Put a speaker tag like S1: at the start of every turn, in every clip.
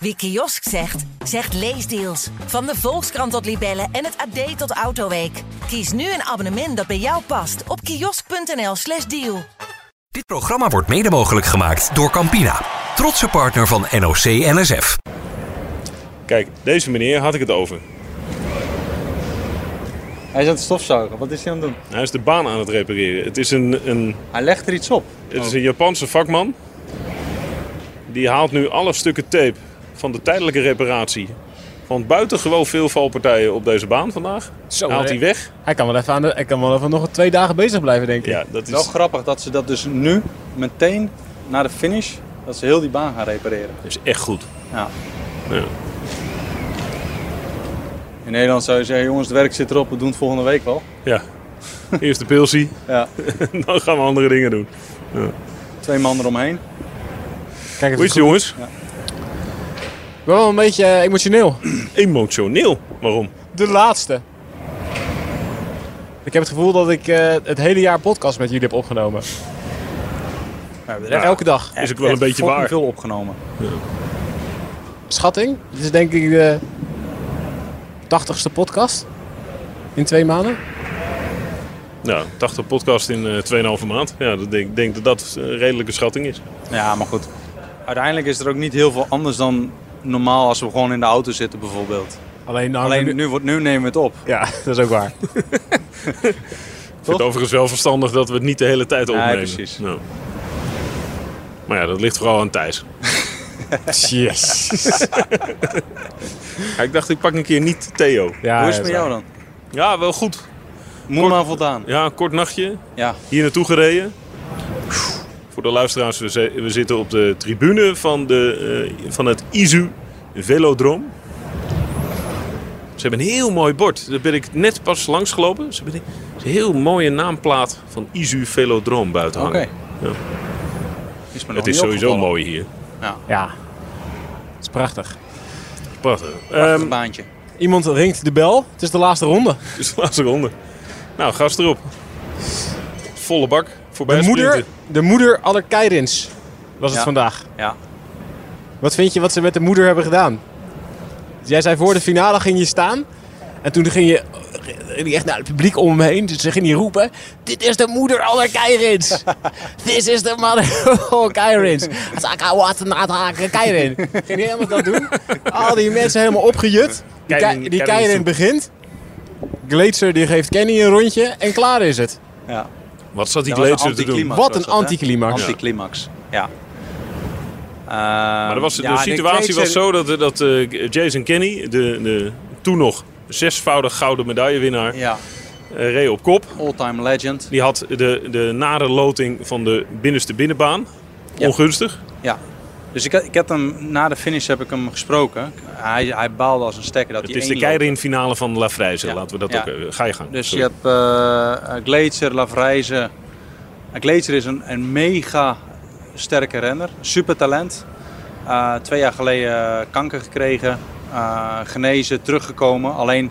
S1: Wie kiosk zegt, zegt leesdeals. Van de Volkskrant tot Libellen en het AD tot Autoweek. Kies nu een abonnement dat bij jou past op kiosk.nl/slash deal.
S2: Dit programma wordt mede mogelijk gemaakt door Campina, trotse partner van NOC NSF.
S3: Kijk, deze meneer had ik het over.
S4: Hij is aan het stofzuigen. Wat is hij aan het doen?
S3: Hij is de baan aan het repareren. Het is een, een,
S4: Hij legt er iets op.
S3: het is een Japanse vakman. Die haalt nu alle stukken tape van de tijdelijke reparatie. Van buitengewoon veel valpartijen op deze baan vandaag.
S5: Zo,
S3: haalt
S5: hè.
S3: hij weg.
S5: Hij kan wel even, aan de, hij kan wel even nog twee dagen bezig blijven, denk ik.
S3: Ja, dat is...
S4: Wel grappig dat ze dat dus nu, meteen na de finish, dat ze heel die baan gaan repareren.
S3: Dat is echt goed.
S4: Ja.
S3: Ja.
S4: In Nederland zou je zeggen, jongens, het werk zit erop, we doen het volgende week wel.
S3: ja. Eerst de pilsie,
S4: Ja.
S3: dan gaan we andere dingen doen.
S4: Twee man eromheen.
S5: Kijk, het
S3: Hoe
S5: is
S3: is het, jongens?
S5: goed. wel een beetje eh, emotioneel.
S3: Emotioneel. Waarom?
S5: De laatste. Ik heb het gevoel dat ik eh, het hele jaar podcast met jullie heb opgenomen. Elke dag.
S3: Is ook wel een
S4: Echt
S3: beetje
S4: fucking
S3: waar.
S4: veel opgenomen.
S5: Schatting, dit is denk ik de 80ste podcast in twee maanden.
S3: Nou, 80 podcast in eh 2,5 maand. Ja, dat denk, ik denk dat dat een redelijke schatting is.
S4: Ja, maar goed. Uiteindelijk is er ook niet heel veel anders dan normaal als we gewoon in de auto zitten bijvoorbeeld.
S5: Alleen, nou,
S4: Alleen nu, wordt- nu nemen we het op.
S5: Ja, dat is ook waar.
S3: Ik vind het overigens wel verstandig dat we het niet de hele tijd opnemen.
S4: precies.
S3: Nou. Maar ja, dat ligt vooral aan Thijs.
S5: Yes.
S3: Ja, ik dacht, ik pak een keer niet Theo.
S5: Ja,
S4: Hoe is het
S5: ja,
S4: met jou dan?
S3: Ja, wel goed.
S4: Moe maar voldaan.
S3: Ja, een kort nachtje.
S4: Ja,
S3: Hier naartoe gereden. Voor de luisteraars, we, zi- we zitten op de tribune van, de, eh, van het Izu Velodroom. Ze hebben een heel mooi bord. Daar ben ik net pas langs gelopen. Ze hebben een een heel mooie naamplaat van Izu Velodroom buiten
S4: oké.
S3: hangen. Ja.
S4: Is me nog
S3: Het is
S4: niet
S3: sowieso
S4: opgevallen.
S3: mooi hier.
S5: Ja. Het is prachtig.
S3: Prachtig.
S4: Prachtig
S3: Ehm,
S4: baantje.
S5: Iemand ringt de bel. Het is de laatste ronde.
S3: Dus de laatste ronde. Nou, gas erop. Volle bak. Voorbij
S5: De moeder,
S3: sprinten.
S5: de moeder aller Keirins was het
S4: Ja.
S5: vandaag.
S4: Ja.
S5: Wat vind je wat ze met de moeder hebben gedaan? Jij zei voor de finale ging je staan. En toen ging je ging je echt naar het publiek om hem heen. Dus ze ging je roepen. Dit is de moeder aller Keirins. This is the mother of all Keirins. Azaka wat een atake Keirin. Ging hij helemaal dat doen. Al die mensen helemaal opgejut. Die,
S3: Keirin-
S5: Kei-
S3: Keirin
S5: die
S3: is
S5: Keirin
S3: toe.
S5: begint. Glazer die geeft Kenny een rondje. En klaar is het.
S4: ja.
S3: Wat zat die
S4: Dat was
S3: Glazer
S4: een
S3: te doen?
S4: anticlimax
S5: Wat
S4: was
S5: een
S4: dat, hè?
S5: anticlimax.
S4: Anticlimax, ja. Ehm,
S3: Maar er was, de situatie was zo dat, dat eh, Jason Kenny, de, de toen nog zesvoudig gouden medaillewinnaar, eh
S4: Ja,
S3: reed op kop.
S4: all-time legend.
S3: Die had de, de nare loting van de binnenste binnenbaan.
S4: Ja.
S3: Ongunstig.
S4: Ja. Dus ik, ik heb hem, na de finish heb ik hem gesproken. Hij, hij baalde als een stekker dat
S3: Het
S4: hij
S3: is de
S4: één
S3: keirin finale van La Vrijze.
S4: Ja.
S3: Laten we dat
S4: Ja.
S3: ook even. Ga je gang.
S4: loopt. Dus
S3: Sorry.
S4: je hebt eh Glacier, Lavrijze. Glacier is een, een mega sterke renner. Super talent. Eh, twee jaar geleden eh, kanker gekregen. eh, genezen, teruggekomen. Alleen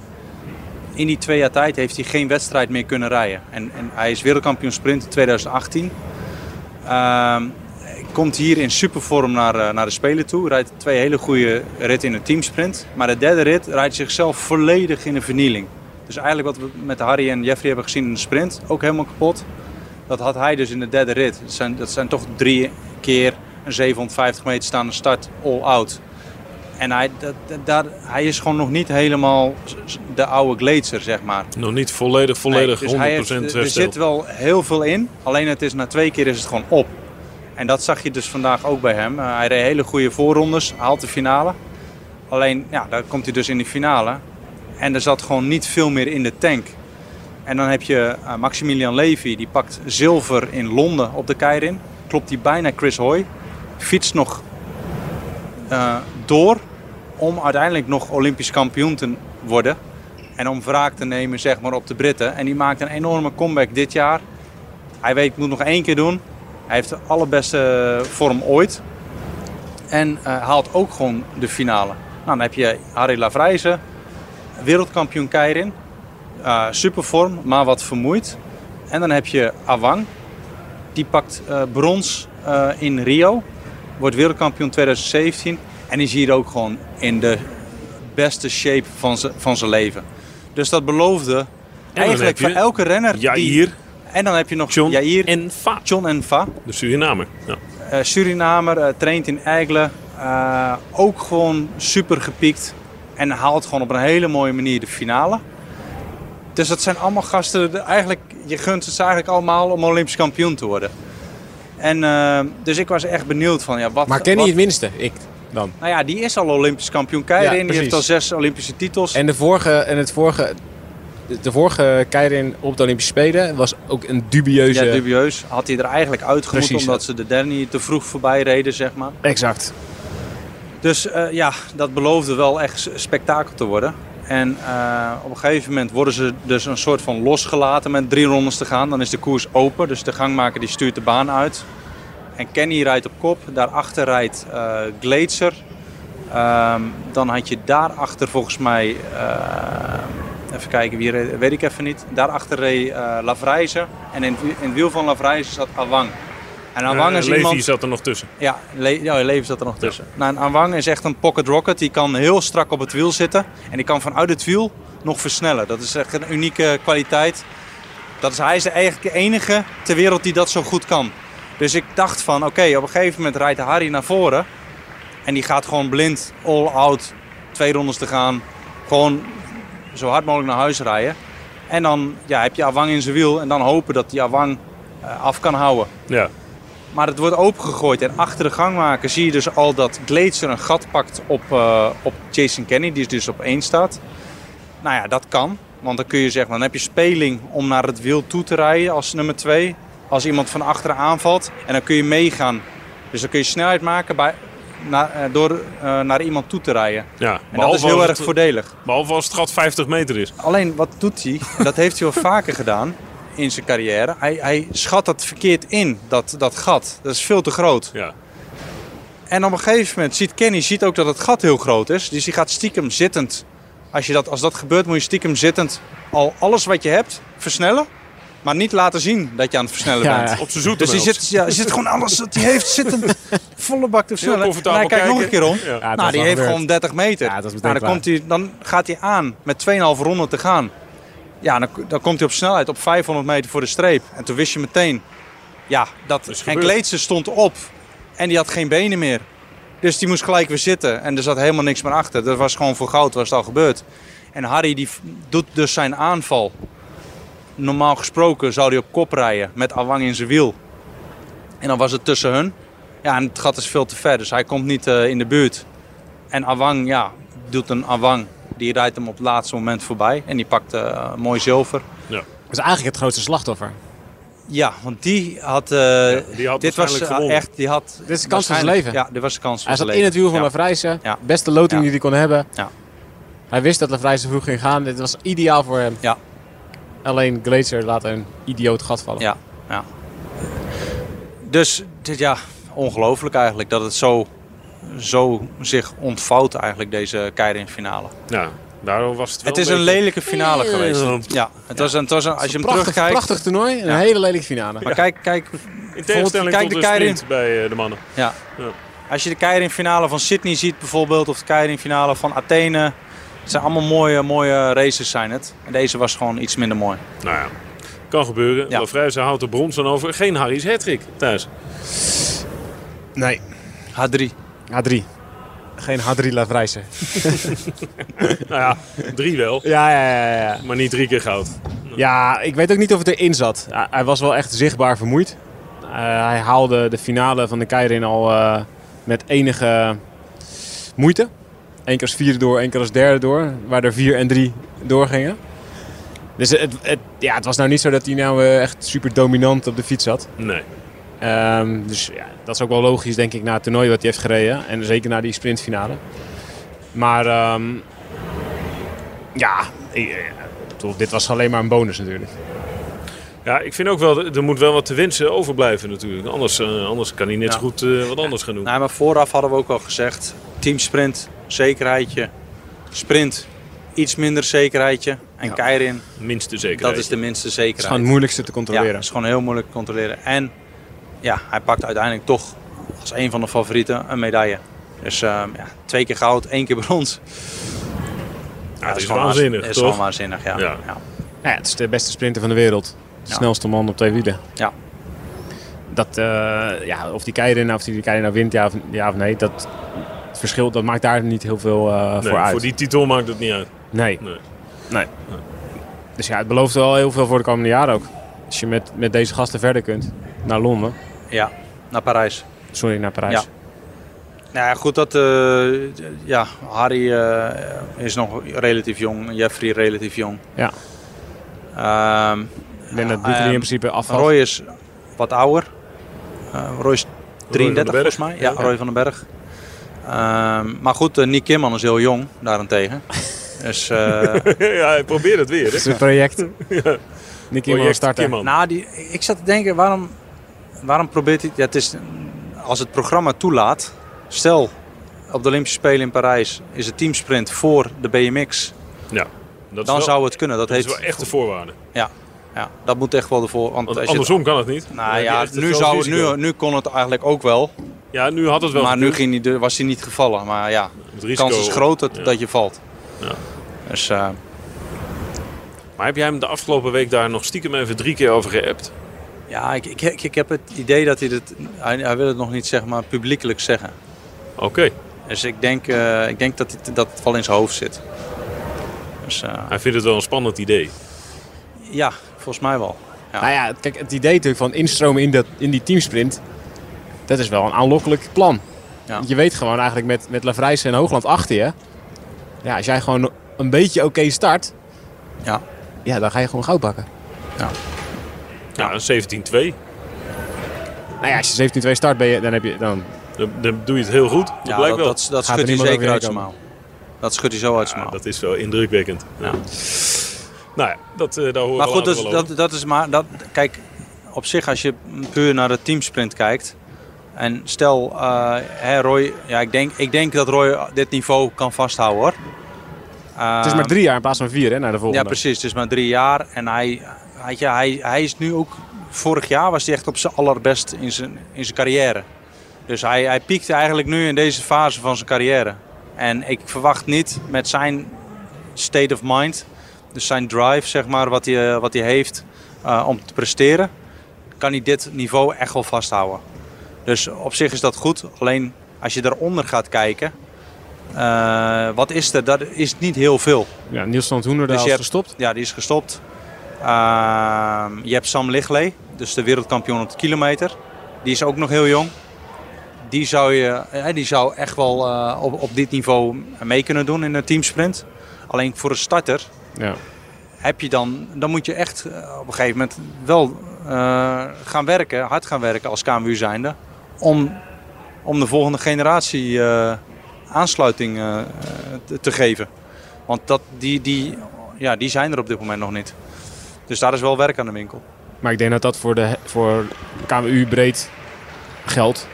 S4: in die twee jaar tijd heeft hij geen wedstrijd meer kunnen rijden. En, en hij is wereldkampioen sprint in 2018. Ehm, komt hier in supervorm naar, eh, naar de Spelen toe. Rijdt twee hele goede ritten in een teamsprint. Maar de derde rit rijdt zichzelf volledig in de vernieling. Dus eigenlijk wat we met Harry en Jeffrey hebben gezien in de sprint, ook helemaal kapot. Dat had hij dus in de derde rit. Dat zijn, dat zijn toch drie keer een 750 meter staande start all-out. En hij, dat, dat- daar, hij is gewoon nog niet helemaal s- s- de oude Glazer, zeg maar.
S3: Nog niet volledig, volledig
S4: Nee, dus hij heeft-
S3: 100%
S4: er- Er
S3: hersteld.
S4: zit wel heel veel in, alleen het is na twee keer is het gewoon op. En dat zag je dus vandaag ook bij hem. Eh, hij reed hele goede voorrondes, haalt de finale. Alleen, ja, daar komt hij dus in de finale. En er zat gewoon niet veel meer in de tank. En dan heb je eh, Maximilian Levy, die pakt zilver in Londen op de Keirin. Klopt hij bijna Chris Hoy. Fietst nog eh, door om uiteindelijk nog Olympisch kampioen te worden. En om wraak te nemen zeg maar, op de Britten. En die maakt een enorme comeback dit jaar. Hij weet, ik moet nog één keer doen. Hij heeft de allerbeste eh, vorm ooit. En eh, haalt ook gewoon de finale. Nou, dan heb je Harry Lavrijze, wereldkampioen Keirin. Eh, supervorm, maar wat vermoeid. En dan heb je Awang. Die pakt eh, brons eh, in Rio. Wordt wereldkampioen 2017. En is hier ook gewoon in de beste shape van z'n- van zijn leven. Dus dat beloofde eigenlijk
S3: heb
S4: voor
S3: je
S4: elke renner. die-
S3: Jair,
S4: En dan heb je nog
S3: John
S4: Jair,
S3: en Dus Fa.
S4: John en Va.
S3: De Surinamer. Ja.
S4: Eh, Surinamer, eh, traint in Eigelen. Eh, ook gewoon super gepiekt. En haalt gewoon op een hele mooie manier de finale. Dus dat zijn allemaal gasten. de- Eigenlijk, je gunt het ze eigenlijk allemaal om Olympisch kampioen te worden. En, eh, dus ik was echt benieuwd van ja, wat.
S5: Maar Kenny
S4: wat-
S5: het minste, ik dan.
S4: Nou ja, die is al Olympisch kampioen keirin.
S5: Ja,
S4: die heeft al
S5: precies.
S4: zes Olympische titels.
S5: En de vorige, en het vorige, de vorige keirin op de Olympische Spelen was ook een dubieuze...
S4: ja, dubieus. Had hij er eigenlijk uitgemoet
S5: dus, eh, Precies,
S4: omdat
S5: ja.
S4: ze de Denny te vroeg voorbij reden, zeg maar.
S5: Exact.
S4: Dus eh, ja, dat beloofde wel echt s- spektakel te worden. En eh, op een gegeven moment worden ze dus een soort van losgelaten met drie rondes te gaan. Dan is de koers open, dus de gangmaker die stuurt de baan uit. En Kenny rijdt op kop, daarachter rijdt eh Glazer. Ehm, dan had je daarachter volgens mij, eh, even kijken wie reed, weet ik even niet. Daarachter reed eh Lavrijze en in, het wi- in het wiel van Lavrijze zat Awang. En Awang
S3: Eh,
S4: is
S3: Levi
S4: Nou, iemand...
S3: zat er nog tussen.
S4: Ja, le ja Leven zat er nog tussen. Nou, een Anwang is echt een pocket rocket. Die kan heel strak op het wiel zitten. En die kan vanuit het wiel nog versnellen. Dat is echt een unieke kwaliteit. Dat is, hij is de- eigenlijk de enige ter wereld die dat zo goed kan. Dus ik dacht van, oké, op een gegeven moment rijdt Harry naar voren. En die gaat gewoon blind, all out, twee rondes te gaan. Gewoon zo hard mogelijk naar huis rijden. En dan ja, heb je Awang in zijn wiel. En dan hopen dat die Awang eh, af kan houden.
S3: Ja.
S4: Maar het wordt opengegooid en achter de gangmaker zie je dus al dat Glazer een gat pakt op, eh, op Jason Kenny, die dus op één staat. Nou ja, dat kan. Want dan kun je zeggen, dan heb je speling om naar het wiel toe te rijden als nummer twee. Als iemand van achteren aanvalt. En dan kun je meegaan. Dus dan kun je snelheid maken bij, naar, eh, door eh, naar iemand toe te rijden.
S3: ja.
S4: En dat is heel
S3: als
S4: erg
S3: het-
S4: voordelig.
S3: Behalve als het gat 50 meter is.
S4: Alleen wat doet hij? En Dat heeft hij wel vaker gedaan in zijn carrière. Hij, hij schat dat verkeerd in, dat, dat gat. Dat is veel te groot.
S3: Ja.
S4: En op een gegeven moment ziet Kenny ziet ook dat het gat heel groot is. Dus die gaat stiekem zittend. Als, je dat, als dat gebeurt, moet je stiekem zittend al alles wat je hebt versnellen. Maar niet laten zien dat je aan het versnellen
S5: Ja,
S4: bent.
S5: ja.
S3: Op zijn zoete
S4: Dus die
S3: melk.
S4: zit, ja, die zit gewoon alles wat hij heeft zittend. Volle bak te
S3: Heel
S4: versnellen.
S3: comfortabel eh,
S4: en hij kijkt nog een keer om.
S3: Ja.
S5: Ja, dat
S4: nou, die
S5: is wel
S4: heeft
S5: gebeurd.
S4: gewoon 30 meter.
S5: Ja, dat is meteen
S4: nou, dan,
S5: klaar.
S4: komt hij, dan gaat hij aan met 2,5 ronden te gaan. Ja, dan, dan komt hij op snelheid op 500 meter voor de streep. En toen wist je meteen, ja, dat.
S3: is
S4: en
S3: gebeurd.
S4: Kleedse stond op en die had geen benen meer. Dus die moest gelijk weer zitten en er zat helemaal niks meer achter. Dat was gewoon voor goud, was het al gebeurd. En Harry die v- doet dus zijn aanval. Normaal gesproken zou hij op kop rijden met Awang in zijn wiel. En dan was het tussen hun. Ja, en het gat is veel te ver, dus hij komt niet eh, in de buurt. En Awang, ja, doet een Awang. Die rijdt hem op het laatste moment voorbij en die pakt eh, mooi zilver.
S5: Dat is eigenlijk het grootste slachtoffer.
S4: Ja, want die had. eh,
S3: die had
S4: dit was
S3: waarschijnlijk
S4: eh,
S3: gewonnen.
S4: echt. Die had
S5: Dit is de kans van zijn
S4: waarschijnlijk-
S5: leven.
S4: Ja, dit was de kans van
S5: Hij
S4: zijn
S5: zat
S4: leven.
S5: in het wiel van
S4: ja.
S5: Lafrijze.
S4: Ja.
S5: Beste loting
S4: Ja.
S5: die hij kon hebben.
S4: Ja.
S5: Hij wist dat Lafrijze vroeg ging gaan. Dit was ideaal voor hem.
S4: Ja.
S5: Alleen Glazer laat een idioot gat vallen.
S4: Ja, ja. Dus dit, ja, ongelooflijk eigenlijk dat het zo, zo zich ontvouwt eigenlijk deze Keirin finale.
S3: Ja. Nou, Daarom was het wel
S4: Het is een
S3: beetje-
S4: lelijke finale geweest. Ja, het was een, het was een, als je hem
S5: Prachtig,
S4: terugkijkt.
S5: prachtig toernooi en een hele lelijke finale.
S4: Maar kijk, kijk,
S3: In tegenstelling
S4: Kijk,
S3: tot
S4: de
S3: de
S4: Keirin.
S3: sprint bij eh, de mannen.
S4: ja.
S3: Ja.
S4: Als je de Keirin finale van Sydney ziet bijvoorbeeld, of de Keirin finale van Athene. Het zijn allemaal mooie, mooie races zijn het. En deze was gewoon iets minder mooi.
S3: Nou ja, kan gebeuren.
S4: Ja.
S3: Ja. houdt de brons dan over. Geen Harry's hattrick thuis.
S5: Nee.
S4: H3.
S5: H3. Geen H3 Lafrijze.
S3: Nou ja, drie wel,
S5: Ja, ja, ja, ja, ja.
S3: maar niet drie keer goud.
S5: Ja, ik weet ook niet of het erin zat. Hij- Hij was wel echt zichtbaar vermoeid. Eh, hij haalde de finale van de Keirin al eh, met enige moeite. Eén keer als vierde door, één keer als derde door. Waar er vier en drie doorgingen. Dus het, het- ja, het was nou niet zo dat hij nou eh, echt super dominant op de fiets zat.
S3: Nee.
S5: Ehm, dus ja, dat is ook wel logisch, denk ik, na het toernooi wat hij heeft gereden. En zeker na die sprintfinale. Maar ehm, ja, ik- eh, toch, dit was alleen maar een bonus natuurlijk.
S3: Ja, ik vind ook wel, er moet wel wat te wensen overblijven natuurlijk. Anders, eh, anders kan hij net zo
S4: Ja. Nou,
S3: goed eh, wat anders gaan doen.
S4: Nee, maar vooraf hadden we ook al gezegd: teamsprint, zekerheidje. Sprint, iets minder zekerheidje. En Keirin,
S3: Minste zeker.
S4: dat is de minste zekerheid.
S5: Het is gewoon het moeilijkste te
S4: ja,
S5: controleren.
S4: dat is gewoon heel moeilijk te controleren. En ja, hij pakt uiteindelijk toch als een van de favorieten een medaille. Dus eh, ja, twee keer goud, één keer brons.
S3: Ja, het is
S4: gewoon
S3: waanzinnig,
S4: waanz- is
S3: toch?
S4: gewoon waanzinnig, ja.
S3: Ja.
S4: ja. ja.
S5: Nou ja, het is de beste sprinter van de wereld. De
S4: Ja.
S5: snelste man op twee wielen.
S4: Ja.
S5: Dat, eh, ja, of die Keirin, nou, of die Keirin nou wint, ja of, ja of nee, dat het verschil dat maakt daar niet heel veel eh,
S3: Nee,
S5: voor uit.
S3: voor die titel maakt het niet uit.
S5: Nee.
S3: Nee.
S5: Nee. Dus ja, het belooft wel heel veel voor de komende jaren ook. Als je met, met deze gasten verder kunt naar Londen.
S4: naar Parijs.
S5: Sorry, naar Parijs.
S4: Ja. Nou ja, goed, dat, eh, ja, Harry eh, is nog relatief jong, Jeffrey relatief jong.
S5: Ja.
S4: Ehm,
S5: Ik denk dat
S4: Ja,
S5: Butler
S4: ehm,
S5: in principe afvalt.
S4: Roy is wat ouder. Eh, Roy is
S3: Roy van den
S4: 33
S3: Berg.
S4: volgens mij. Ja,
S3: Ja.
S4: Roy van den Berg. Ehm, maar goed, eh, Nick Kimman is heel jong daarentegen. Dus, eh,
S3: ja, hij probeert het weer.
S5: Dat is
S3: Hè?
S5: een project. Nick Kimmer
S3: Project
S5: starten.
S3: Kimman.
S4: nou, die, ik zat te denken, waarom, waarom probeert hij... Ja, het is, als het programma toelaat, stel op de Olympische Spelen in Parijs is het teamsprint voor de BMX,
S3: Ja, dat
S4: dan
S3: is wel,
S4: zou het kunnen. Dat,
S3: dat is
S4: heeft,
S3: wel echt de voorwaarde.
S4: ja, ja, dat moet echt wel de voor. Want
S3: Want
S4: als je-
S3: andersom kan het niet. Dan
S4: Nou
S3: heb je
S4: ja,
S3: echt het
S4: nu,
S3: grote
S4: zou,
S3: risico.
S4: nu, nu kon het eigenlijk ook wel.
S3: Ja, nu had het wel.
S4: maar nu
S3: gekund.
S4: ging hij de- was hij niet gevallen. Maar ja,
S3: Het
S4: de
S3: risico-
S4: kans is groot dat,
S3: ja.
S4: dat je valt.
S3: Ja.
S4: Dus eh,
S3: Maar heb jij hem de afgelopen week daar nog stiekem even drie keer over geappt?
S4: ja, ik, ik, ik, ik heb het idee dat hij dat... Hij, hij wil het nog niet zeg maar, publiekelijk zeggen.
S3: Oké.
S4: Dus ik denk, eh, ik denk dat, hij, dat het wel in zijn hoofd zit. Dus eh,
S3: Hij vindt het wel een spannend idee.
S4: ja, volgens mij wel.
S5: Nou ja, kijk, het idee natuurlijk van instromen in, dat, in die teamsprint, dat is wel een aanlokkelijk plan.
S4: Ja.
S5: Want Je weet gewoon eigenlijk met, met Lavrijsen en Hoogland achter je, ja, als jij gewoon een beetje oké start,
S4: Ja.
S5: ja, dan ga je gewoon goud pakken.
S3: Ja, een 17-2.
S5: Nou ja, als je 17-2 start, ben je, dan heb je dan...
S3: Dan, dan doe je het heel goed. Dat
S4: Ja,
S3: blijkt
S4: dat,
S3: wel.
S4: dat, dat
S5: Gaat
S4: schudt hij
S5: er niemand
S4: zeker uit
S5: overheen
S4: zijn mouw. Dat schudt hij zo uit zijn
S3: Ja,
S4: mouw.
S3: dat is wel indrukwekkend. Ja. Nou ja, dat, eh, daar horen
S4: Maar
S3: we
S4: goed, dus
S3: later
S4: dat,
S3: wel over.
S4: dat, dat is maar. Dat, kijk, op zich, als je puur naar de teamsprint kijkt. En stel, eh, hè, Roy. Ja, ik denk, ik denk dat Roy dit niveau kan vasthouden hoor.
S5: Het is maar drie jaar in plaats van vier, hè, naar de
S4: Ehm, Ja,
S5: volgende.
S4: precies. Het is maar drie jaar. En hij, weet je, hij, hij is nu ook. Vorig jaar was hij echt op zijn allerbest in zijn, in zijn carrière. Dus hij, hij piekt eigenlijk nu in deze fase van zijn carrière. En ik verwacht niet met zijn state of mind, dus zijn drive, zeg maar, wat hij, eh, wat hij heeft eh, om te presteren, kan hij dit niveau echt wel vasthouden. Dus op zich is dat goed. Alleen als je daaronder gaat kijken, eh, wat is er? Dat is niet heel veel.
S5: Ja, Niels van Hoenderdaal
S4: Dus je
S5: is
S4: hebt-
S5: gestopt.
S4: Ja, die is gestopt. Ehm, je hebt Sam Ligley, dus de wereldkampioen op de kilometer. Die is ook nog heel jong. Die zou, je, hè, die zou echt wel eh, op, op dit niveau mee kunnen doen in een teamsprint. Alleen voor een starter
S5: Ja.
S4: heb je dan, dan moet je echt eh, op een gegeven moment wel eh, gaan werken, hard gaan werken als KMU zijnde. Om, om de volgende generatie eh, aansluiting eh, eh, te, te geven. Want dat, die, die, ja, die zijn er op dit moment nog niet. Dus daar is wel werk aan de winkel.
S5: Maar ik denk dat dat voor, de, voor KMU breed geldt.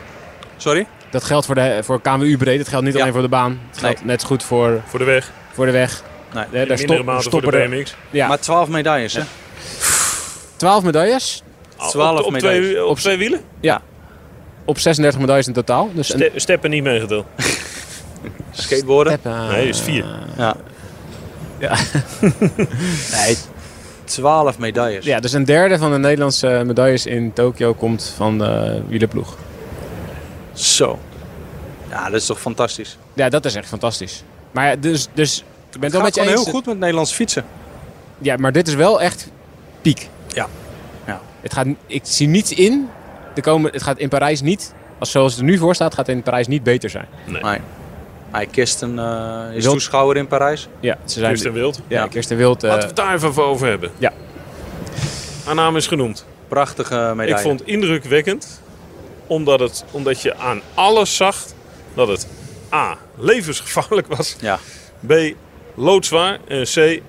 S4: Sorry?
S5: Dat geldt voor, de, voor KMU breed, het geldt niet
S4: Ja.
S5: alleen voor de baan. Het geldt net zo goed voor,
S3: Voor de weg.
S5: voor de weg.
S4: Nee.
S5: Hè,
S3: In mindere
S5: stop-
S3: mate voor de
S5: er-
S3: BMX.
S5: Ja,
S4: Maar 12 medailles, hè?
S5: 12 medailles
S3: Op-
S4: Twaalf
S3: op, op,
S4: medailles.
S3: twee, op twee wielen?
S5: op 36 medailles in totaal. Dus een
S3: Ste- Steppen niet meegeteld.
S4: Skateboarden.
S5: step, eh,
S3: Nee, is vier.
S4: Ja.
S5: Ja.
S4: nee, 12 medailles.
S5: Ja, dus een derde van de Nederlandse medailles in Tokio komt van eh, de wielerploeg.
S4: Zo. Ja, dat is toch fantastisch.
S5: Ja, dat is echt fantastisch. Maar ja, dus, dus ik ben het
S4: Het
S5: wel met je
S4: gaat
S5: eens.
S4: gewoon heel goed met Nederlands fietsen.
S5: Ja, maar dit is wel echt piek.
S4: Ja. Ja.
S5: Het gaat, ik zie niets in. Er komen, het gaat in Parijs niet, als zoals het er nu voor staat, gaat het in Parijs niet beter zijn.
S4: Nee. Hij Kirsten eh is
S5: Wild-
S4: toeschouwer in Parijs.
S5: Ja, ze zijn...
S3: Kirsten Wild.
S5: Ja,
S4: Ja.
S5: Kirsten Wild. eh,
S3: Laten we het daar even over hebben.
S5: Ja.
S3: Haar naam is genoemd.
S4: Prachtige medaille.
S3: Ik vond indrukwekkend, omdat, het, omdat je aan alles zag dat het A. levensgevaarlijk was,
S4: Ja.
S3: B. loodzwaar en C.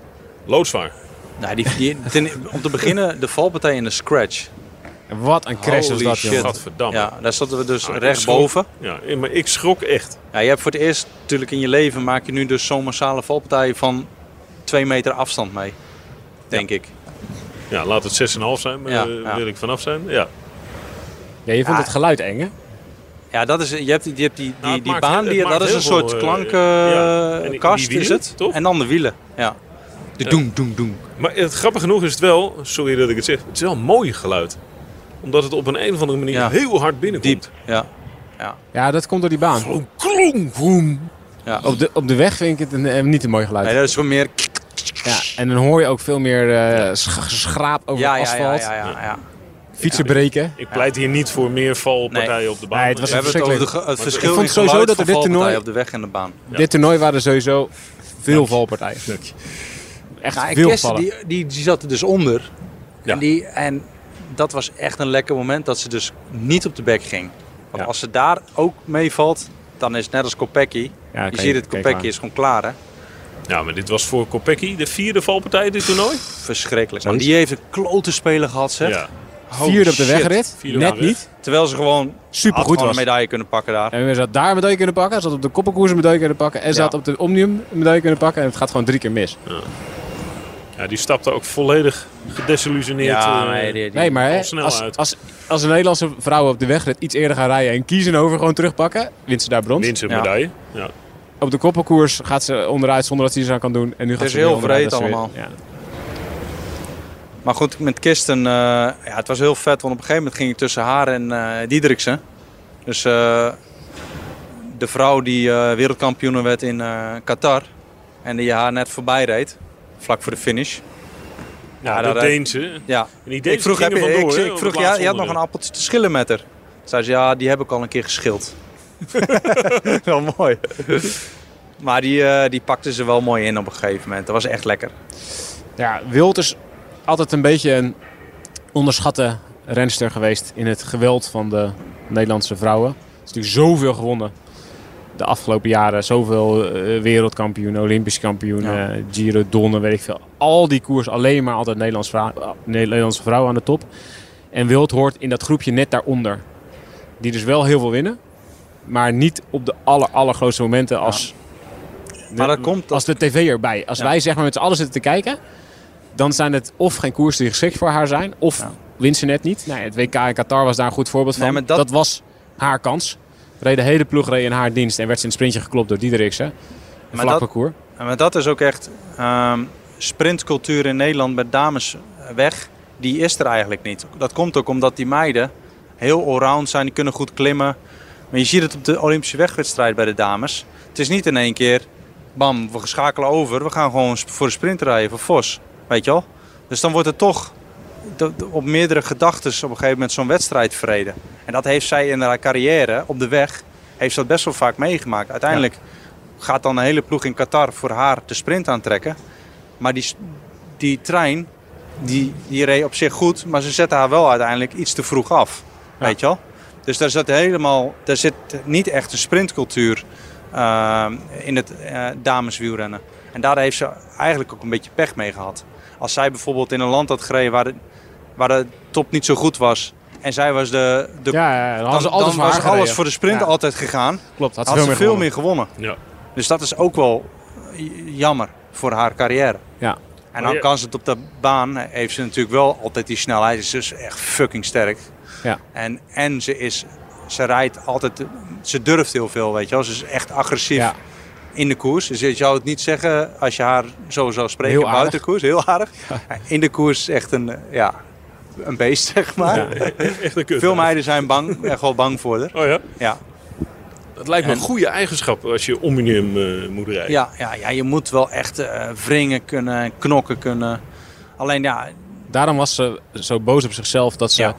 S3: loodzwaar.
S4: Nou, die, die, ten- om te beginnen, de valpartij in de scratch.
S5: wat een crash was
S4: Holy
S5: dat,
S4: shit.
S5: jongen.
S3: Gadverdamme.
S4: Ja, daar zaten we dus
S3: Ah, ik
S4: rechtboven.
S3: schrok. Ja, maar ik schrok echt.
S4: Ja, je hebt voor het eerst natuurlijk in je leven maak je nu dus zo'n massale valpartij van twee meter afstand mee. Denk ik.
S3: Ja, laat het 6,5 zijn, maar
S4: Ja,
S3: daar
S4: ja.
S3: wil ik vanaf zijn. Ja.
S5: Ja, je vond
S4: Ja.
S5: het geluid eng, hè?
S4: Ja, dat is, je hebt, die- je hebt die, die,
S3: Nou, het
S4: die
S3: maakt
S4: baan,
S3: heel-
S4: die,
S3: het
S4: dat
S3: maakt
S4: is een
S3: heel
S4: soort
S3: veel, eh, ja. En die- die
S4: klankkast, is
S3: wielen,
S4: het?
S3: toch?
S4: En dan de wielen, ja. De doem, doem, doem.
S3: Maar het, grappig genoeg is het wel, sorry dat ik het zeg, het is wel een mooi geluid. Omdat het op een, een of andere manier
S4: Ja.
S3: heel hard binnenkomt.
S4: Diep, ja.
S5: Ja, dat komt door die baan.
S3: Gewoon klonk, woem.
S4: ja.
S5: Op de, op de weg vind ik het een, eh, niet een mooi geluid.
S4: Nee, dat is gewoon meer...
S5: Ja, en dan hoor je ook veel meer eh, sch- schraap over
S4: Ja,
S5: het
S4: ja, ja,
S5: asfalt.
S4: ja, ja, ja.
S5: Fietsen breken.
S3: Ik pleit hier niet voor meer valpartijen op de baan.
S5: Nee, het was
S4: We hebben het over de,
S5: verschrikkelijk.
S4: ge- het verschil
S5: vond
S4: in
S5: sowieso
S4: geluid
S5: dat
S4: van
S5: er dit
S4: valpartijen
S5: toernooi-
S4: op de weg en de baan.
S5: Dit toernooi waren sowieso veel valpartijen. Echt
S4: Nou, en
S5: veel
S4: Kirsten,
S5: vallen.
S4: die, die, die zat er dus onder.
S3: Ja.
S4: En, die, en dat was echt een lekker moment dat ze dus niet op de bek ging. Want
S3: Ja.
S4: als ze daar ook meevalt, dan is het net als Kopecky.
S5: Ja,
S4: je
S5: oké,
S4: ziet het,
S5: oké,
S4: Kopecky
S5: klaar.
S4: is gewoon klaar, hè?
S3: Ja, Nou, maar dit was voor Kopecky de vierde valpartij dit toernooi.
S4: Verschrikkelijk. Want die heeft een klote speler gehad, zeg.
S3: Ja.
S4: Holy
S5: Vierde op de
S4: shit.
S5: wegrit.
S3: Vierde op de
S5: Net
S3: weg.
S5: niet.
S4: Terwijl ze gewoon had
S5: Supergoed
S4: gewoon
S5: was.
S4: een medaille kunnen pakken daar.
S5: En we zat daar een medaille kunnen pakken. Zat op de koppenkoers een medaille kunnen pakken. En zat op de Omnium een medaille kunnen pakken. En het gaat gewoon drie keer mis.
S3: ja, die stapte ook volledig gedesillusioneerd. eh,
S4: die- die-
S5: Nee, maar
S3: al
S5: hè,
S3: snel
S5: als,
S3: uit.
S5: als, als een Nederlandse vrouwen op de wegrit iets eerder gaan rijden en kiezen over gewoon terugpakken, wint ze daar brons.
S3: Wint zijn
S4: Ja.
S3: medaille. Ja.
S5: Op de koppenkoers gaat ze onderuit zonder dat ze iets aan kan doen. En nu gaat
S4: is
S5: ze weer
S4: heel
S5: onderuit,
S4: wreed
S5: dat ze weer-
S4: allemaal.
S5: ja.
S4: Maar goed, met Kirsten, eh, ja, het was heel vet, want op een gegeven moment ging ik tussen haar en eh Diederiksen. Dus eh, de vrouw die eh wereldkampioen werd in eh, Qatar en die haar net voorbij reed, vlak voor de finish.
S3: Ja,
S4: daar,
S3: de
S4: eh,
S3: Deense.
S4: Ja.
S3: En die Deense
S4: Ik vroeg,
S3: ging
S4: heb je,
S3: er vandoor,
S4: ik,
S3: hè,
S4: ik
S3: op
S4: vroeg
S3: het
S4: ja,
S3: laatste
S4: je had nog een
S3: onderdeel.
S4: appeltje te schillen met haar. Zei ze, ja, die heb ik al een keer geschild. wel mooi. maar die, eh, die pakte ze wel mooi in op een gegeven moment. Dat was echt lekker.
S5: Ja, Wild is altijd een beetje een onderschatte renster geweest in het geweld van de Nederlandse vrouwen. Ze is natuurlijk zoveel gewonnen de afgelopen jaren. Zoveel eh, wereldkampioen, olympisch kampioen,
S4: Ja.
S5: eh, Giro, Donnen, weet ik veel. Al die koers alleen maar altijd Nederlandse, vrou- eh, Nederlandse vrouwen aan de top. En Wild hoort in dat groepje net daaronder. Die dus wel heel veel winnen. Maar niet op de aller, allergrootste momenten als,
S4: Maar dat komt
S5: als de tv erbij. Als wij zeg maar met z'n allen zitten te kijken, dan zijn het of geen koersen die geschikt voor haar zijn, of
S4: Ja.
S5: wint ze net niet. Nou, het WK in Qatar was daar een goed voorbeeld van.
S4: Nee, maar dat-
S5: was haar kans. Reed de hele ploeg reed in haar dienst en werd ze in het sprintje geklopt door Diederiksen. Een
S4: Maar
S5: vlak
S4: dat-
S5: parcours.
S4: Ja, Maar dat is ook echt ehm, sprintcultuur in Nederland bij dames weg. Die is er eigenlijk niet. Dat komt ook omdat die meiden heel allround zijn. Die kunnen goed klimmen. Maar je ziet het op de Olympische wegwedstrijd bij de dames. Het is niet in één keer, bam, we schakelen over. We gaan gewoon sp- voor de sprint rijden, voor Vos. Weet je wel? Dus dan wordt het toch d- d- op meerdere gedachten op een gegeven moment zo'n wedstrijd verreden. En dat heeft zij in haar carrière op de weg, heeft ze dat best wel vaak meegemaakt. Uiteindelijk gaat dan een hele ploeg in Qatar voor haar de sprint aantrekken. Maar die, s- die trein, die, die reed op zich goed, maar ze zetten haar wel uiteindelijk iets te vroeg af.
S5: Ja.
S4: Weet je wel? Dus daar zit helemaal, daar zit niet echt een sprintcultuur eh, in het eh, dameswielrennen. En daar heeft ze eigenlijk ook een beetje pech mee gehad. Als zij bijvoorbeeld in een land had gereden waar de, waar de top niet zo goed was. En zij was de, de
S5: Ja, ja, dan hadden
S4: dan,
S5: ze alles
S4: dan
S5: voor
S4: was
S5: haar
S4: alles
S5: gereden.
S4: voor de sprint
S5: Ja.
S4: altijd gegaan.
S5: Klopt, had
S4: Had,
S5: ze
S4: ze veel meer
S5: gewonnen.
S4: gewonnen.
S3: Ja.
S4: Dus dat is ook wel eh, jammer voor haar carrière.
S5: Ja.
S4: En
S3: Maar
S4: dan
S3: je-
S4: kan ze het op de baan, eh, heeft ze natuurlijk wel altijd die snelheid. Ze is dus echt fucking sterk.
S5: Ja.
S4: En, en ze is, ze rijdt altijd, ze durft heel veel, weet je wel. Ze is echt agressief
S5: Ja.
S4: in de koers. Dus je zou het niet zeggen als je haar zo zou spreken
S5: Heel aardig.
S4: buiten de koers. Heel aardig. In de koers echt een, eh, ja, een beest, zeg maar.
S3: Echt een kut.
S4: Veel meiden zijn bang, echt wel bang voor haar.
S3: Oh ja?
S4: Ja.
S3: Dat lijkt me
S4: En-
S3: een goede eigenschap als je omnium eh moet rijden.
S4: Ja, ja, ja, je moet wel echt eh, wringen kunnen, en knokken kunnen. Alleen ja,
S5: Daarom was ze zo boos op zichzelf dat ze...
S4: Ja.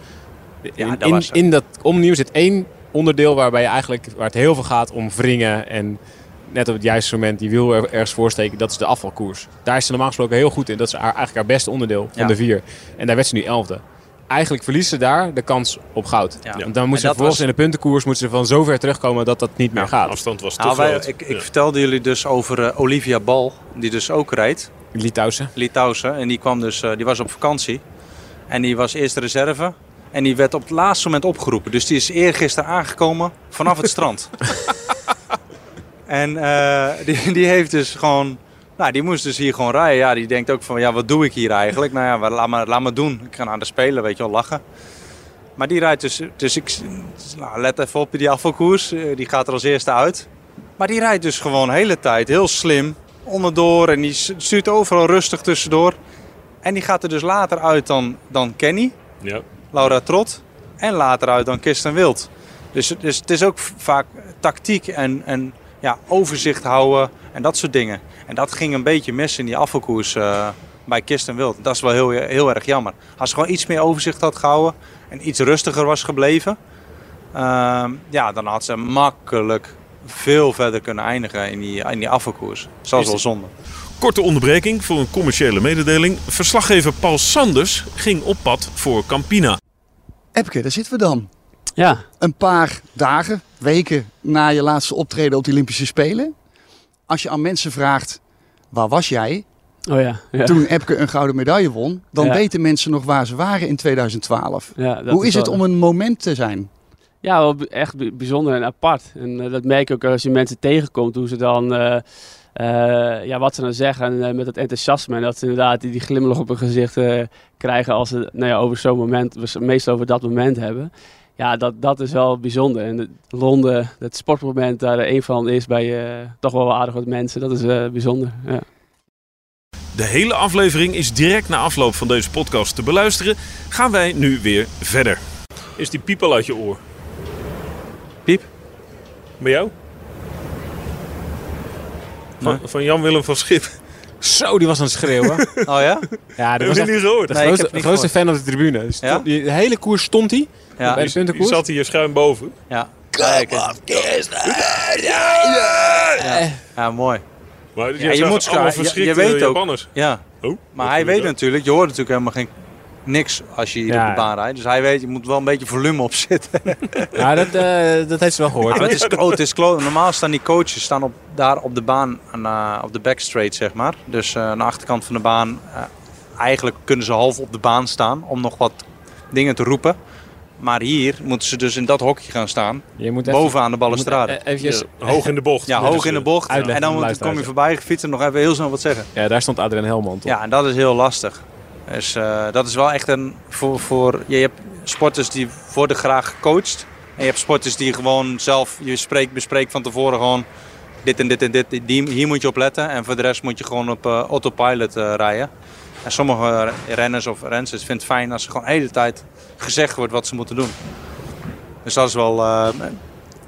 S5: In,
S4: dat
S5: in,
S4: was ze.
S5: in dat omnieuw zit één onderdeel waarbij je eigenlijk, waar het heel veel gaat om wringen en net op het juiste moment die wiel er- ergens voorsteken. Dat is de afvalkoers. Daar is ze normaal gesproken heel goed in. Dat is haar, eigenlijk haar beste onderdeel van
S4: Ja.
S5: de vier. En daar werd ze nu elfde. Eigenlijk verliest ze daar de kans op goud.
S4: Ja.
S5: Want dan moet
S4: En dat
S5: ze vervolgens
S4: was-
S5: in de puntenkoers moet ze van zover terugkomen dat dat niet meer
S3: De
S5: gaat.
S3: afstand was te
S4: nou, wij-
S3: groot.
S4: ik, ik
S3: Ja.
S4: vertelde jullie dus over eh, Olivia Bal, die dus ook rijdt,
S5: Litouwse.
S4: Litouwse. En die, kwam dus, eh, die was op vakantie en die was eerst reserve. En die werd op het laatste moment opgeroepen. Dus die is eergisteren aangekomen vanaf het strand. en eh, die, die heeft dus gewoon... Nou, die moest dus hier gewoon rijden. Ja, die denkt ook van, ja, wat doe ik hier eigenlijk? Nou ja, maar laat maar, laat maar doen. Ik ga naar de spelen, weet je wel, lachen. Maar die rijdt dus, dus ik nou, let even op die afvalkoers. Eh, Die gaat er als eerste uit. Maar die rijdt dus gewoon de hele tijd heel slim onderdoor. En die s- stuurt overal rustig tussendoor. En die gaat er dus later uit dan, dan Kenny,
S3: Ja.
S4: Laura Trot. En later uit dan Kirsten Wild. Dus, dus het is ook v- vaak tactiek en, en ja, overzicht houden en dat soort dingen. En dat ging een beetje mis in die afvalkoers eh, bij Kirsten Wild. Dat is wel heel, heel erg jammer. Als ze gewoon iets meer overzicht had gehouden en iets rustiger was gebleven. ehm, ja, dan had ze makkelijk veel verder kunnen eindigen in die, in die afvalkoers. Dus dat is wel zonde.
S3: Korte onderbreking voor een commerciële mededeling. Verslaggever Paul Sanders ging op pad voor Campina.
S6: Epke, daar zitten we dan.
S7: Ja,
S6: Een paar dagen, weken na je laatste optreden op de Olympische Spelen. Als je aan mensen vraagt, waar was jij
S7: oh ja. ja.
S6: toen Epke een gouden medaille won? Dan
S7: Ja.
S6: weten mensen nog waar ze waren in 2012.
S7: Ja, dat
S6: Hoe is het
S7: wel-
S6: om een moment te zijn?
S7: Ja, wel b- echt b- bijzonder en apart. En eh, dat merk je ook als je mensen tegenkomt, hoe ze dan, eh, eh, ja, wat ze dan zeggen eh, met dat enthousiasme. En dat ze inderdaad die, die glimlach op hun gezicht eh, krijgen als ze nou ja, over zo'n moment, we s- meestal over dat moment hebben. Ja, dat, dat is wel bijzonder. En het- Londen, dat sportmoment daar eh, een van is bij eh, toch wel aardig wat mensen, dat is eh, bijzonder. Ja.
S3: De hele aflevering is direct na afloop van deze podcast te beluisteren. Gaan wij nu weer verder. Is die piep al uit je oor?
S4: Piep?
S3: Bij jou? Van, van Jan-Willem van Schip.
S5: Zo, die was aan het schreeuwen.
S4: Oh ja?
S5: ja, dat
S3: Hebben
S5: was
S3: jullie
S5: echt
S3: niet gehoord?
S5: de
S4: Nee, ik heb
S5: grootste,
S4: het niet
S5: grootste fan op de tribune. Dus
S4: Ja?
S5: die- De hele koers stond hij.
S4: Ja.
S5: Bij de
S3: Die
S5: puntenkoers.
S3: zat hier schuin boven.
S4: Ja,
S5: Eh,
S4: ja mooi.
S3: Maar
S4: Ja, je moet
S3: allemaal
S4: schuin- je- je
S3: verschrikte
S4: weet ook-
S3: Japanners.
S4: Ja.
S3: Oh,
S4: Maar
S3: wat
S4: hij
S3: gebeurt
S4: weet
S3: daar?
S4: natuurlijk, je hoort natuurlijk helemaal geen, niks als je hier
S5: Ja.
S4: op de baan rijdt. Dus hij weet, je moet wel een beetje volume op zitten.
S5: ja, dat, eh, dat heeft ze wel gehoord.
S4: Maar het is, oh, het is klo- Normaal staan die coaches staan op, daar op de baan, aan, eh, op de backstraight zeg maar. Dus eh, aan de achterkant van de baan. eh, eigenlijk kunnen ze half op de baan staan om nog wat dingen te roepen. Maar hier moeten ze dus in dat hokje gaan staan,
S5: Je moet even-
S4: bovenaan de
S5: je moet, eh,
S4: balustrade.
S5: eventjes-
S3: Ja, hoog in de bocht.
S4: ja,
S3: Dus,
S4: hoog in de
S3: eh,
S4: bocht. En
S5: uitleg aan de
S4: dan moet- kom
S5: luisteraars,
S4: je
S5: ja.
S4: voorbij gefietst en nog even heel snel wat zeggen.
S5: Ja, daar stond Adrien Helmond op.
S4: Ja, en dat is heel lastig. Dus eh, dat is wel echt een. Voor, voor, je hebt sporters die worden graag gecoacht. En je hebt sporters die gewoon zelf. Je spreekt, bespreekt van tevoren gewoon. Dit en dit en dit. Die, hier moet je op letten. En voor de rest moet je gewoon op eh, autopilot eh, rijden. En sommige renners of rensters vinden het fijn als er gewoon de hele tijd gezegd wordt wat ze moeten doen. Dus dat is wel. eh,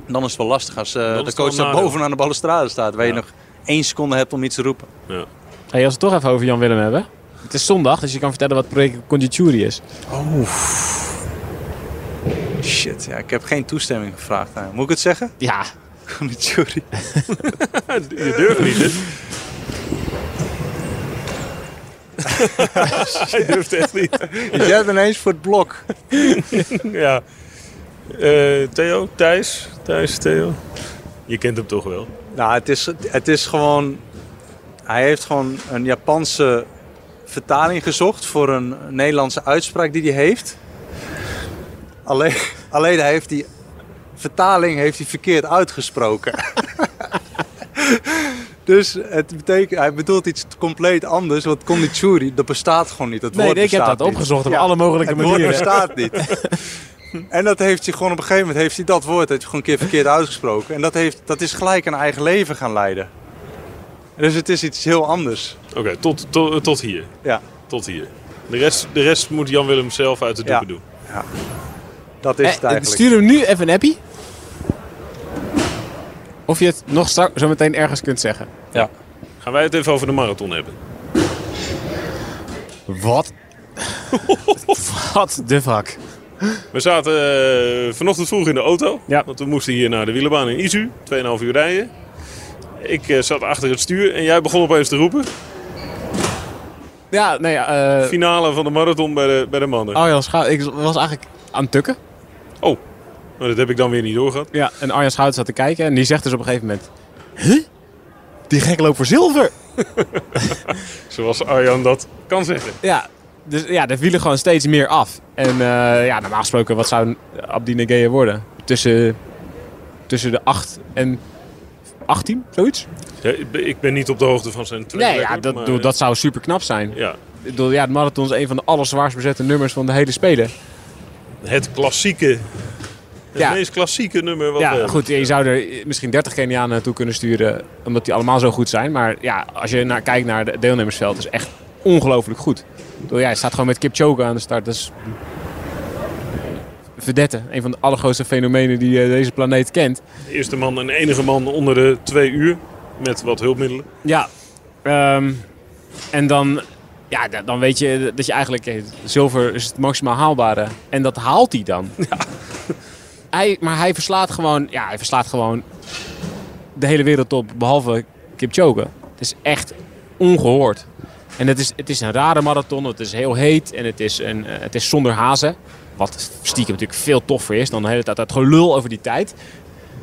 S4: dan is het wel lastig als eh,
S3: is
S4: de
S3: het wel
S4: coach
S3: een
S4: daar
S3: nadeel.
S4: bovenaan de balustrade staat. Waar je
S3: Ja.
S4: nog één seconde hebt om iets te roepen.
S5: Hey, als we het toch even over Jan Willem hebben. Het is zondag, dus je kan vertellen wat project Condituri is.
S4: Shit, ja, ik heb geen toestemming gevraagd. aan hem. Moet ik het zeggen?
S5: Ja,
S4: Sorry.
S3: Je durft niet, hè? Hij durft echt niet.
S4: Jij bent ineens voor het blok.
S3: Ja. Eh, Theo, Thijs, Thijs, Theo. Je kent hem toch wel?
S4: Nou, het is, het is gewoon... Hij heeft gewoon een Japanse vertaling gezocht voor een Nederlandse uitspraak die hij heeft. Alleen, alleen hij heeft die vertaling heeft hij verkeerd uitgesproken. dus het betekent, hij bedoelt iets compleet anders. Want kondichuri, dat bestaat gewoon niet. Dat
S5: nee,
S4: woord
S5: nee, ik heb
S4: bestaat
S5: dat
S4: niet.
S5: opgezocht op
S4: Ja.
S5: alle mogelijke
S4: Het woord
S5: manieren.
S4: bestaat niet. En dat heeft hij gewoon op een gegeven moment heeft hij dat woord heeft hij gewoon een keer verkeerd uitgesproken. En dat, heeft, dat is gelijk een eigen leven gaan leiden. Dus het is iets heel anders.
S3: Oké, tot, tot, eh, tot hier.
S4: Ja,
S3: Tot hier. De rest, de rest moet Jan Willem zelf uit de doeken
S4: Ja.
S3: doen.
S4: dat is
S5: Eh,
S4: het eigenlijk.
S5: stuur hem nu even een appie. Of je het nog strak zo meteen ergens kunt zeggen.
S4: Ja.
S3: Gaan wij het even over de marathon hebben?
S5: Wat? Wat de fuck?
S3: We zaten eh, vanochtend vroeg in de auto.
S5: Ja.
S3: Want we moesten hier naar de wielerbaan in Izu. 2,5 uur rijden. Ik eh, zat achter het stuur en jij begon opeens te roepen.
S5: Ja, nee, ja, eh,
S3: Finale van de marathon bij de, bij de mannen.
S5: Arjan Schout, ik was eigenlijk aan het tukken.
S3: Maar dat heb ik dan weer niet doorgehad.
S5: Ja, en Arjan Schout zat te kijken en die zegt dus op een gegeven moment... Huh? Die gek loopt voor zilver!
S3: Zoals Arjan dat kan zeggen.
S5: Ja, dus ja, er vielen gewoon steeds meer af. En eh, ja, normaal gesproken, wat zou Abdi Negea worden? Tussen, tussen de 8 en 18, zoiets?
S3: Ja, ik ben- ik ben niet op de hoogte van zijn track
S5: Nee, ja,
S3: record,
S5: dat,
S3: maar, eh,
S5: bedoel, dat zou super knap zijn.
S3: Ja,
S5: Ik bedoel, ja, het marathon is een van de allerzwaarst bezette nummers van de hele Spelen.
S3: het klassieke, het
S5: Ja.
S3: meest klassieke nummer wat we
S5: Ja,
S3: hebben.
S5: goed, je zou er misschien 30 Kenianen naartoe kunnen sturen, omdat die allemaal zo goed zijn. Maar ja, als je naar, kijkt naar het deelnemersveld, is echt ongelooflijk goed. Ik bedoel, ja, je staat gewoon met Kipchoge aan de start. Dat is verdette, een van de allergrootste fenomenen die eh, deze planeet kent.
S3: De eerste man en enige man onder de twee uur. Met wat hulpmiddelen.
S5: Ja, ehm, en dan, ja, da- dan weet je dat je eigenlijk, eh, zilver is het maximaal haalbare. En dat haalt hij dan. Hij, maar hij verslaat gewoon, ja, hij verslaat gewoon de hele wereld op, behalve Kipchoge. Het is echt ongehoord. En het is, het is een rare marathon, het is heel heet en het is, een, eh, het is zonder hazen. Wat stiekem natuurlijk veel toffer is dan de hele tijd dat gelul over die tijd.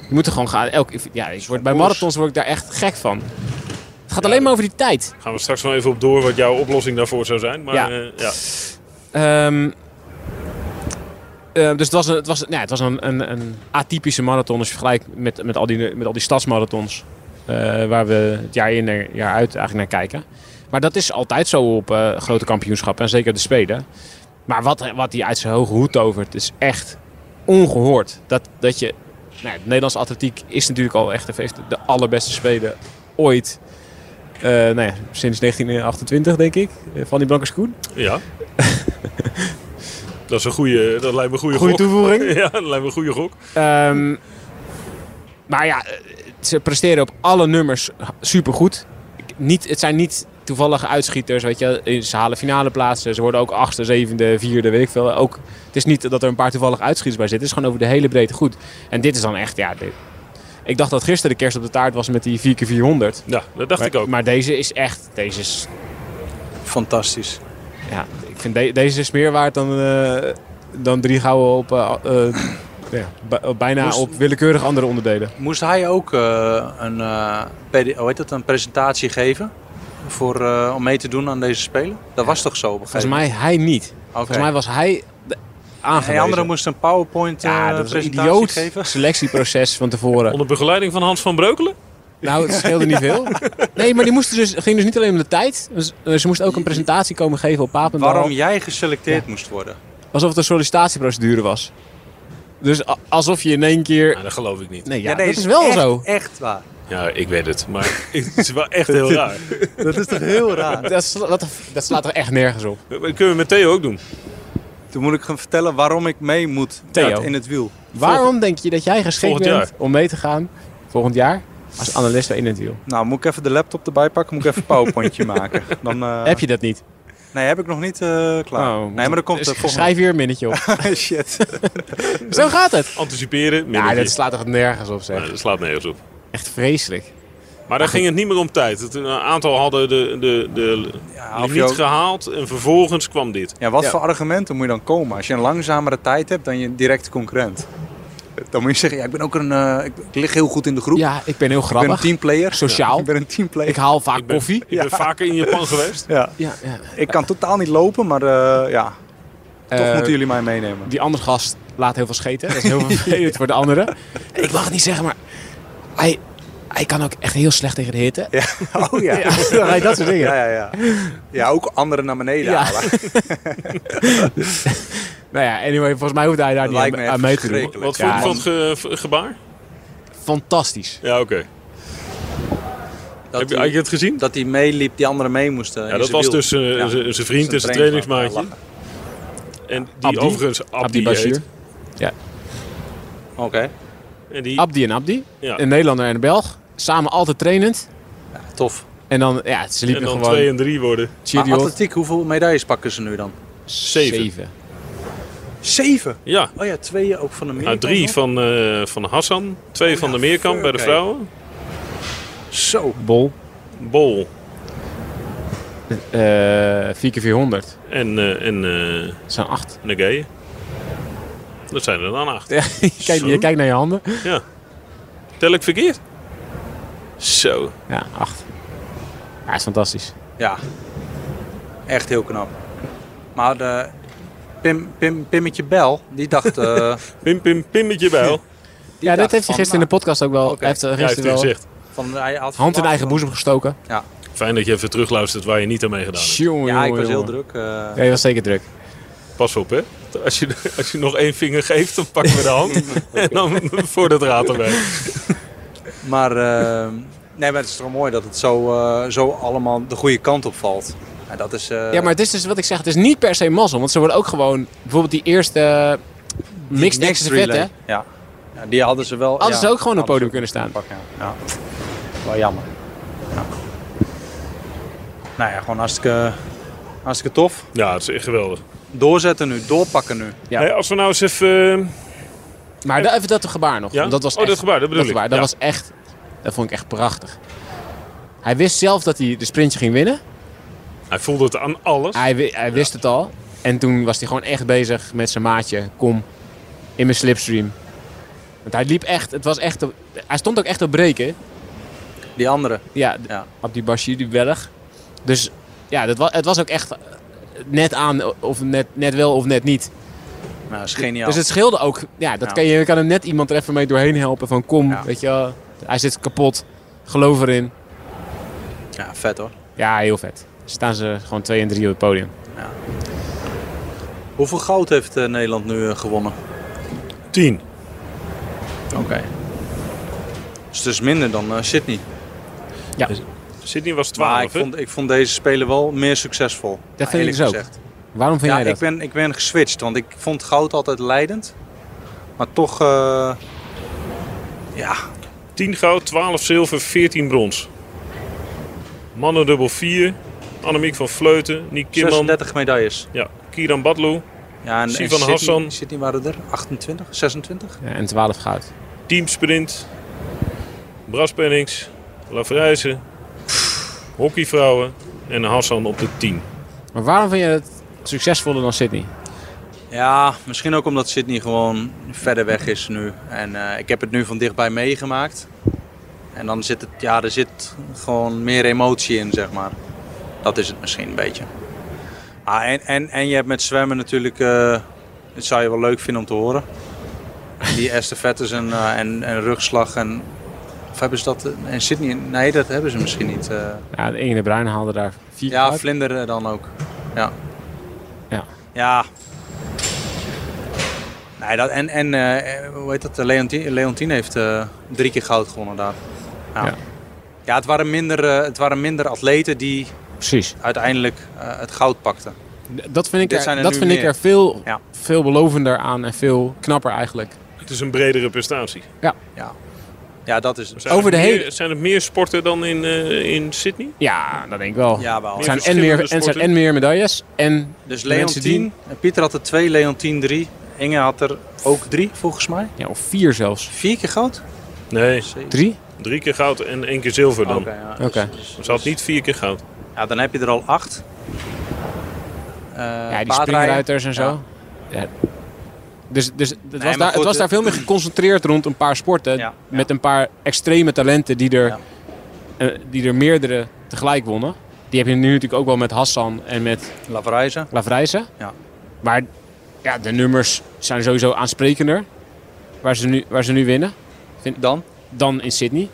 S5: Je moet er gewoon gaan. Elk, ja, je wordt, bij marathons word ik daar echt gek van. Het gaat alleen maar over die tijd.
S3: Gaan we straks nog even op door wat jouw oplossing daarvoor zou zijn. Maar
S5: Ja.
S3: eh, ja.
S5: Ehm, eh, dus het was, een, het was, nou, ja, het was een, een, een atypische marathon als je vergelijkt met, met, al, die, met al die stadsmarathons. eh, waar we het jaar in en jaar uit eigenlijk naar kijken. Maar dat is altijd zo op eh, grote kampioenschappen en zeker de Spelen. Maar wat, wat hij uit zijn hoge hoed tovert is echt ongehoord. Dat, dat je, nou, ja, de Nederlandse atletiek is natuurlijk al echt heeft de allerbeste Spelen ooit. Eh, nou ja, sinds 1928 denk ik, eh, van die blanke schoen.
S3: ja. dat, is een goede, dat lijkt me een goede,
S5: Goede
S3: gok.
S5: toevoeging.
S3: Ja, dat lijkt me een goede gok.
S5: Ehm, maar ja, eh, ze presteren op alle nummers supergoed. Ik- Niet, het zijn niet toevallige uitschieters, weet je. wel. Ze halen finale plaatsen. Ze worden ook achtste, zevende, vierde, weet ik veel. Ook, het is niet dat er een paar toevallige uitschieters bij zitten. Het is gewoon over de hele breedte goed. En dit is dan echt, ja... dit- ik dacht dat gisteren de kerst op de taart was met die 4x400.
S3: Ja, dat dacht
S5: maar,
S3: ik ook.
S5: Maar deze is echt, deze is...
S4: Fantastisch.
S5: Ja, ik vind de- deze is meer waard dan, eh, dan drie gouden op... eh, eh, ja, bij- bijna
S4: Moest-
S5: op willekeurig andere onderdelen.
S4: Moest hij ook eh, een, eh, PD hoe heet dat, een presentatie geven voor, eh, om mee te doen aan deze Spelen? Dat was toch zo op een gegeven
S5: Volgens mij hij niet.
S4: Oké.
S5: Volgens mij was hij de- aangewezen.
S4: En anderen moest een PowerPoint eh
S5: ja, dat is een
S4: presentatie
S5: idioot
S4: geven.
S5: selectieproces van tevoren.
S3: Onder begeleiding van Hans van Breukelen.
S5: Nou, het scheelde niet veel. Nee, maar die moesten dus, ging dus niet alleen om de tijd. Dus, eh, Ze moest ook een presentatie komen geven op Papendal.
S4: Waarom jij geselecteerd moest worden?
S5: Alsof het een sollicitatieprocedure was. Dus a- alsof je in één keer...
S3: Nou, dat geloof ik niet.
S5: Nee, ja,
S4: Ja, nee,
S5: dat is wel
S4: echt-
S5: zo.
S4: Echt waar.
S3: Ja, ik weet het. Maar het is wel echt heel raar.
S4: Dat is toch heel raar.
S5: Dat, sla- dat, dat slaat er echt nergens op.
S3: Dat kunnen we met Theo ook doen.
S4: Toen moet ik gaan vertellen waarom ik mee moet
S5: Theo.
S4: met in het wiel.
S5: Waarom denk je dat jij geschikt
S3: volgend
S5: bent om mee te gaan volgend jaar als analist in het wiel?
S4: Nou, moet ik even de laptop erbij pakken? Moet ik even een powerpointje maken? Dan, eh,
S5: Heb je dat niet?
S4: Nee, heb ik nog niet eh, klaar.
S5: Oh,
S4: nee, maar dan komt
S5: dus
S4: de volgende.
S5: Schrijf hier een minnetje op.
S4: Shit.
S5: zo gaat het.
S3: Anticiperen,
S5: Ja,
S3: middentje.
S5: dat slaat toch nergens op, zeg.
S3: Nee, dat slaat nergens op.
S5: Echt vreselijk.
S3: Maar daar ging het niet meer om tijd. Het, een aantal hadden de, de, de
S4: Ja, of je
S3: limiet
S4: ook-
S3: gehaald en vervolgens kwam dit.
S4: Ja, wat
S5: Ja.
S4: voor argumenten moet je dan komen? Als je een langzamere tijd hebt dan je directe concurrent. Dan moet je zeggen, ja, ik ben ook een. eh, ik, ik lig heel goed in de groep.
S5: Ja, ik ben heel
S4: ik ben een
S5: grappig.
S4: teamplayer.
S5: Sociaal.
S4: Ik ben een teamplayer.
S5: Ik haal vaak
S3: Ik ben,
S5: koffie.
S3: Ik ben vaker in Japan geweest.
S4: ja.
S5: Ja, ja.
S4: ik kan totaal niet lopen, maar eh, ja, toch
S5: Eh,
S4: moeten jullie mij meenemen.
S5: Die andere gast laat heel veel scheten. Dat is heel vervelend voor de anderen. Ik mag het niet zeggen, maar hij, hij kan ook echt heel slecht tegen de hitte. Ja.
S4: Oh ja.
S5: Hij dat soort dingen.
S4: Ja, ja, ja. Ja, ook anderen naar beneden
S5: Ja.
S4: halen.
S5: Nou ja, anyway, volgens mij hoeft hij daar
S4: Dat
S5: niet
S4: lijkt me
S5: aan,
S4: echt
S5: aan mee te doen.
S4: verschrikkelijk.
S3: Wat
S5: Ja,
S3: vond je van het ge- v- gebaar?
S5: Fantastisch.
S3: Ja, oké. Heb
S4: Dat
S3: je, had je
S4: die,
S3: het gezien?
S4: dat die meeliep, die anderen mee moesten.
S3: Ja, dat was dus eh,
S4: Ja.
S3: zijn zijn vriend en zijn trainingsmaatje. En die
S5: Abdi.
S3: overigens Abdi,
S5: Abdi Bashir.
S3: heet.
S4: Oké.
S3: En die,
S5: Abdi en Abdi.
S3: ja.
S5: Een Nederlander en een Belg. Samen altijd trainend.
S4: Tof.
S5: En dan, ja, ze
S3: en
S5: liepen
S3: dan twee
S5: gewoon
S3: en drie worden.
S4: Maar
S5: cheerio.
S4: atletiek, hoeveel medailles pakken ze nu dan?
S3: Zeven.
S4: Zeven.
S3: Ja.
S4: Oh ja, twee ook van de meer.
S3: Nou, drie van, eh, van Hassan,
S4: Oh
S3: twee van de meerkamp bij de
S4: oké.
S3: vrouwen.
S4: Zo.
S5: Bol.
S3: Bol
S5: eh 4x400.
S3: en, eh en eh,
S5: Dat zijn acht.
S3: Nageye. Dat zijn er dan acht.
S5: Kijk,
S3: Zo.
S5: je kijkt naar je handen.
S3: Ja. Tel ik verkeerd? Zo.
S5: Ja, acht. Ja, is fantastisch.
S4: Ja, echt heel knap. Maar de Pim, Pim, Pimmetje Bel, die dacht... eh,
S3: Pim, pim, pimmetje bijl.
S4: die
S5: ja, dat
S4: dacht
S5: heeft
S4: van,
S5: hij gisteren in de podcast ook wel.
S4: Oké.
S5: Hij heeft er
S3: Ja, heeft
S5: gisteren
S3: hij
S5: wel
S3: gezegd.
S4: nou, van, hij had
S5: hand in
S4: verwacht-
S5: eigen boezem gestoken.
S3: Fijn dat je even terugluistert waar je niet aan meegedaan hebt.
S5: Tjonge,
S4: Ja, ik
S5: jonge,
S4: was heel
S5: jonge.
S4: druk. eh,
S5: Ja, je was zeker druk.
S3: Pas op, hè. Als je, als je nog één vinger geeft, dan pakken we de hand. En dan voor het raad erbij.
S4: Maar, eh, nee, maar het is toch mooi dat het zo, eh, zo allemaal de goede kant op valt. En dat is, eh,
S5: Ja, maar het is dus wat ik zeg, het is niet per se mazzel. Want ze worden ook gewoon, bijvoorbeeld die eerste eh, mixed
S4: next
S5: access vet, hè?
S4: relay. Ja. Ja, die hadden ze wel.
S5: Hadden
S4: ja,
S5: ze ook gewoon op het
S4: hadden
S5: podium kunnen
S4: ze ook
S5: staan.
S4: kunnen pakken, ja. Ja. Wel jammer. Ja. Nou ja, gewoon hartstikke, hartstikke tof.
S3: Ja, het is echt geweldig.
S4: Doorzetten nu, doorpakken nu.
S5: Ja.
S3: Hey, als we nou eens even... eh,
S5: Maar da- even dat gebaar nog.
S3: Ja?
S5: want Dat was
S3: Oh,
S5: echt,
S3: dat gebaar, dat bedoel ik,
S5: gebaar, dat
S3: ja.
S5: was echt, dat vond ik echt prachtig. Hij wist zelf dat hij de sprintje ging winnen.
S3: hij voelde het aan alles.
S5: Hij, wi- hij wist het al. En toen was hij gewoon echt bezig met zijn maatje. Kom, in mijn slipstream. Want hij liep echt, het was echt, op- hij stond ook echt op breken.
S4: Die andere.
S5: Ja, d-
S4: Ja.
S5: op die Bashir, die Belg. Dus ja, dat was, het was ook echt eh, net aan of net, net wel of net niet.
S4: Nou, dat is geniaal.
S5: Dus het scheelde ook. Ja, dat
S4: Ja.
S5: Kan je, je kan hem net iemand er even mee doorheen helpen. Van kom,
S4: Ja.
S5: weet je wel. Hij zit kapot. Geloof erin.
S4: Ja, vet hoor.
S5: Ja, heel vet. Staan ze gewoon 2 en 3 op het podium.
S4: Hoeveel goud heeft eh, Nederland nu eh, gewonnen?
S3: Tien.
S4: Oké. Dus het is minder dan eh, Sydney. Dus-
S3: Sydney was
S4: Maar ik
S3: twaalf, hè?
S4: vond, ik vond deze spelen wel meer succesvol.
S5: vind ik
S4: eerlijk
S5: dus ook.
S4: gezegd.
S5: Waarom vind
S4: Ja,
S5: jij dat?
S4: ik ben, ik ben geswitcht, want ik vond goud altijd leidend. Maar toch, eh, ja,
S3: Tien goud, 12 zilver, 14 brons. Mannen dubbel 4. Annemiek van Vleuten, Nick Kimman,
S4: 36 medailles.
S3: ja, Kiran Badlou,
S4: Ja, en, en
S3: Sivan
S4: Sydney-
S3: Hassan.
S4: Sydney waren er 28, 26.
S5: Ja, en 12 goud.
S3: Teamsprint, Bras Pennings, Lafrijzen, Hockeyvrouwen en Hassan op de 10.
S5: Maar waarom vind je het succesvoller dan Sydney?
S4: Ja, misschien ook omdat Sydney gewoon verder weg is nu. En eh, ik heb het nu van dichtbij meegemaakt. En dan zit het, ja, er zit gewoon meer emotie in, zeg maar. Dat is het misschien een beetje. Ah, en, en, en je hebt met zwemmen natuurlijk, eh dat zou je wel leuk vinden om te horen. Die estafettes en, eh, en, en rugslag en... Of hebben ze dat in Sydney? Nee, dat hebben ze misschien niet. eh.
S5: Ja, de Inge de Bruin haalde daar 4
S4: ja,
S5: goud.
S4: vlinder eh, dan ook. Ja.
S5: Ja.
S4: Ja. Nee, dat, en, en eh, hoe heet dat? Leontien, Leontien heeft eh, drie keer goud gewonnen daar. Ja,
S5: Ja.
S4: ja. het, waren minder, eh, het waren minder atleten die
S5: Precies.
S4: uiteindelijk eh, het goud pakten.
S5: Dat vind
S4: Dit
S5: ik
S4: zijn
S5: er,
S4: er
S5: dat
S4: nu
S5: vind ik
S4: meer.
S5: er veel,
S4: Ja.
S5: veel belovender aan en veel knapper eigenlijk.
S3: Het is een bredere prestatie.
S4: Ja, dat is het.
S3: Zijn
S5: Over
S3: het
S5: de
S3: meer-
S5: hele-
S3: Zijn er meer sporten dan in, eh, in Sydney?
S5: Ja, dat denk ik wel.
S4: Ja, wel.
S5: Het zijn en,
S3: verschillende
S5: meer, en het zijn
S3: sporten.
S5: en meer medailles en
S4: Dus
S5: de mensen die-
S4: Leontien, eh, Pieter had er twee, Leontien drie. Inge had er ook drie, volgens mij.
S5: ja, of vier zelfs.
S4: Vier keer goud?
S3: Nee,
S5: Drie?
S4: Eh,
S3: drie keer goud en één keer zilver dan.
S4: Oké, ja. Dus-
S5: Oké.
S3: Ze had niet vier keer goud.
S4: Ja, dan heb je er al acht. Eh,
S5: Ja, die
S4: paardrijden.
S5: springruiters en zo.
S4: Ja.
S5: Ja. Dus, dus het, was
S4: maar
S5: daar, het
S4: goed,
S5: was
S4: eh,
S5: daar veel meer geconcentreerd rond een paar sporten.
S4: Ja,
S5: Met een paar extreme talenten die er,
S4: Ja.
S5: eh, die er meerdere tegelijk wonnen. Die heb je nu natuurlijk ook wel met Hassan en met
S4: Lavarijzen.
S5: Lavrijzen.
S4: Ja.
S5: Maar ja, de nummers zijn sowieso aansprekender. Waar ze nu, waar ze nu winnen.
S4: Dan
S5: Dan in Sydney.